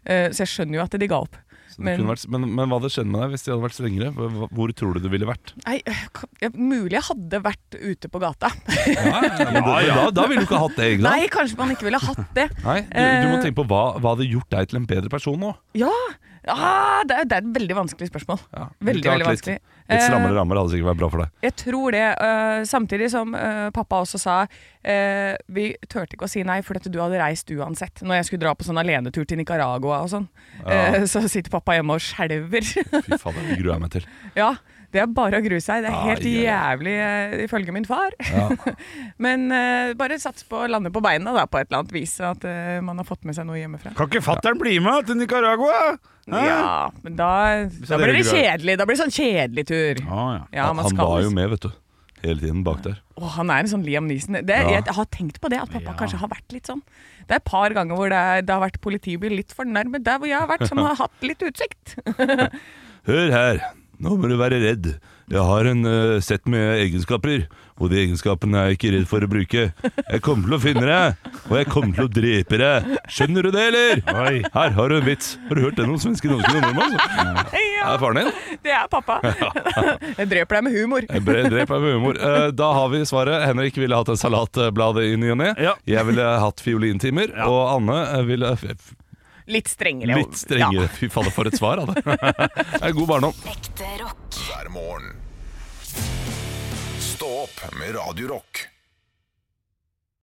D: Eh, Så jeg skjønner jo at de ga opp.
C: Så det kunne vært, men, men hva hadde skjedd med deg hvis de hadde vært strengere? Hva- hva- Hvor tror du du ville vært?
D: Nei, k- ja, mulig jeg hadde vært ute på gata.
C: Men, det- men da, da ville du ikke hatt det, ikke sant?
D: Nei, kanskje man ikke ville hatt det.
C: Nei, du, du må
D: Eh.
C: tenke på hva, hva hadde gjort deg til en bedre person nå.
D: Ja! Ah, det, er, det er et veldig vanskelig spørsmål.
C: Ja,
D: Veldig,
C: klart
D: veldig vanskelig.
C: Litt, litt
D: Eh,
C: strammere rammer hadde sikkert vært bra for deg.
D: Jeg tror det. øh, samtidig som øh, pappa også sa øh, Vi turte ikke å si nei, for at du hadde reist uansett. Når jeg skulle dra på sånn alenetur til Nicaragua og sånn, eh, så sitter pappa hjemme og skjelver.
C: Fy fader, det gruer jeg meg til.
D: ja, det er bare å grue seg. Det er helt
C: Ai, ai,
D: jævlig, eh, ifølge min far. Men eh, bare sats på å lande på beina da, på et eller annet vis, at eh, man har fått med seg noe hjemmefra.
B: Kan ikke fatter'n bli med til Nicaragua? Hæ?
D: Ja, men da, da
B: det
D: blir det
B: rygger.
D: kjedelig. Da blir det sånn kjedelig tur.
B: Ah, ja.
D: Ja, man
C: han
D: skal
C: var jo
D: liksom-
C: med, vet du. Hele tiden bak der.
D: Å, han er en sånn Liam Neeson. Det,
C: Ja.
D: Jeg har tenkt på det, at pappa
B: Ja.
D: kanskje har vært litt sånn. Det er et par ganger hvor det, er, det har vært politibil litt for nærme der hvor jeg har vært, som har hatt litt utsikt.
C: Hør her, nå må du være redd. Jeg har en eh, sett med egenskaper, og de egenskapene er jeg ikke redd for å bruke. Jeg kommer til å finne deg, og jeg kommer til å drepe deg. Skjønner du det, eller?
B: Oi.
C: Her har du en vits. Har du hørt den om svenske dansker og nordmenn? altså?
D: Ja,
C: Er faren din?
D: det er pappa. Jeg dreper deg med humor.
C: Jeg ble drept av humor. Eh, Da har vi svaret. Henrik ville hatt en salatblad i ny og ne.
B: Ja.
C: Jeg ville hatt fiolintimer, og Anne eh, ville f- f-
D: Litt strengere.
C: litt strengere. Fy fader, for et svar, Anne. Det er god barndom.
E: Ekte rock.
A: hver morgen. Stå opp med Radio Rock.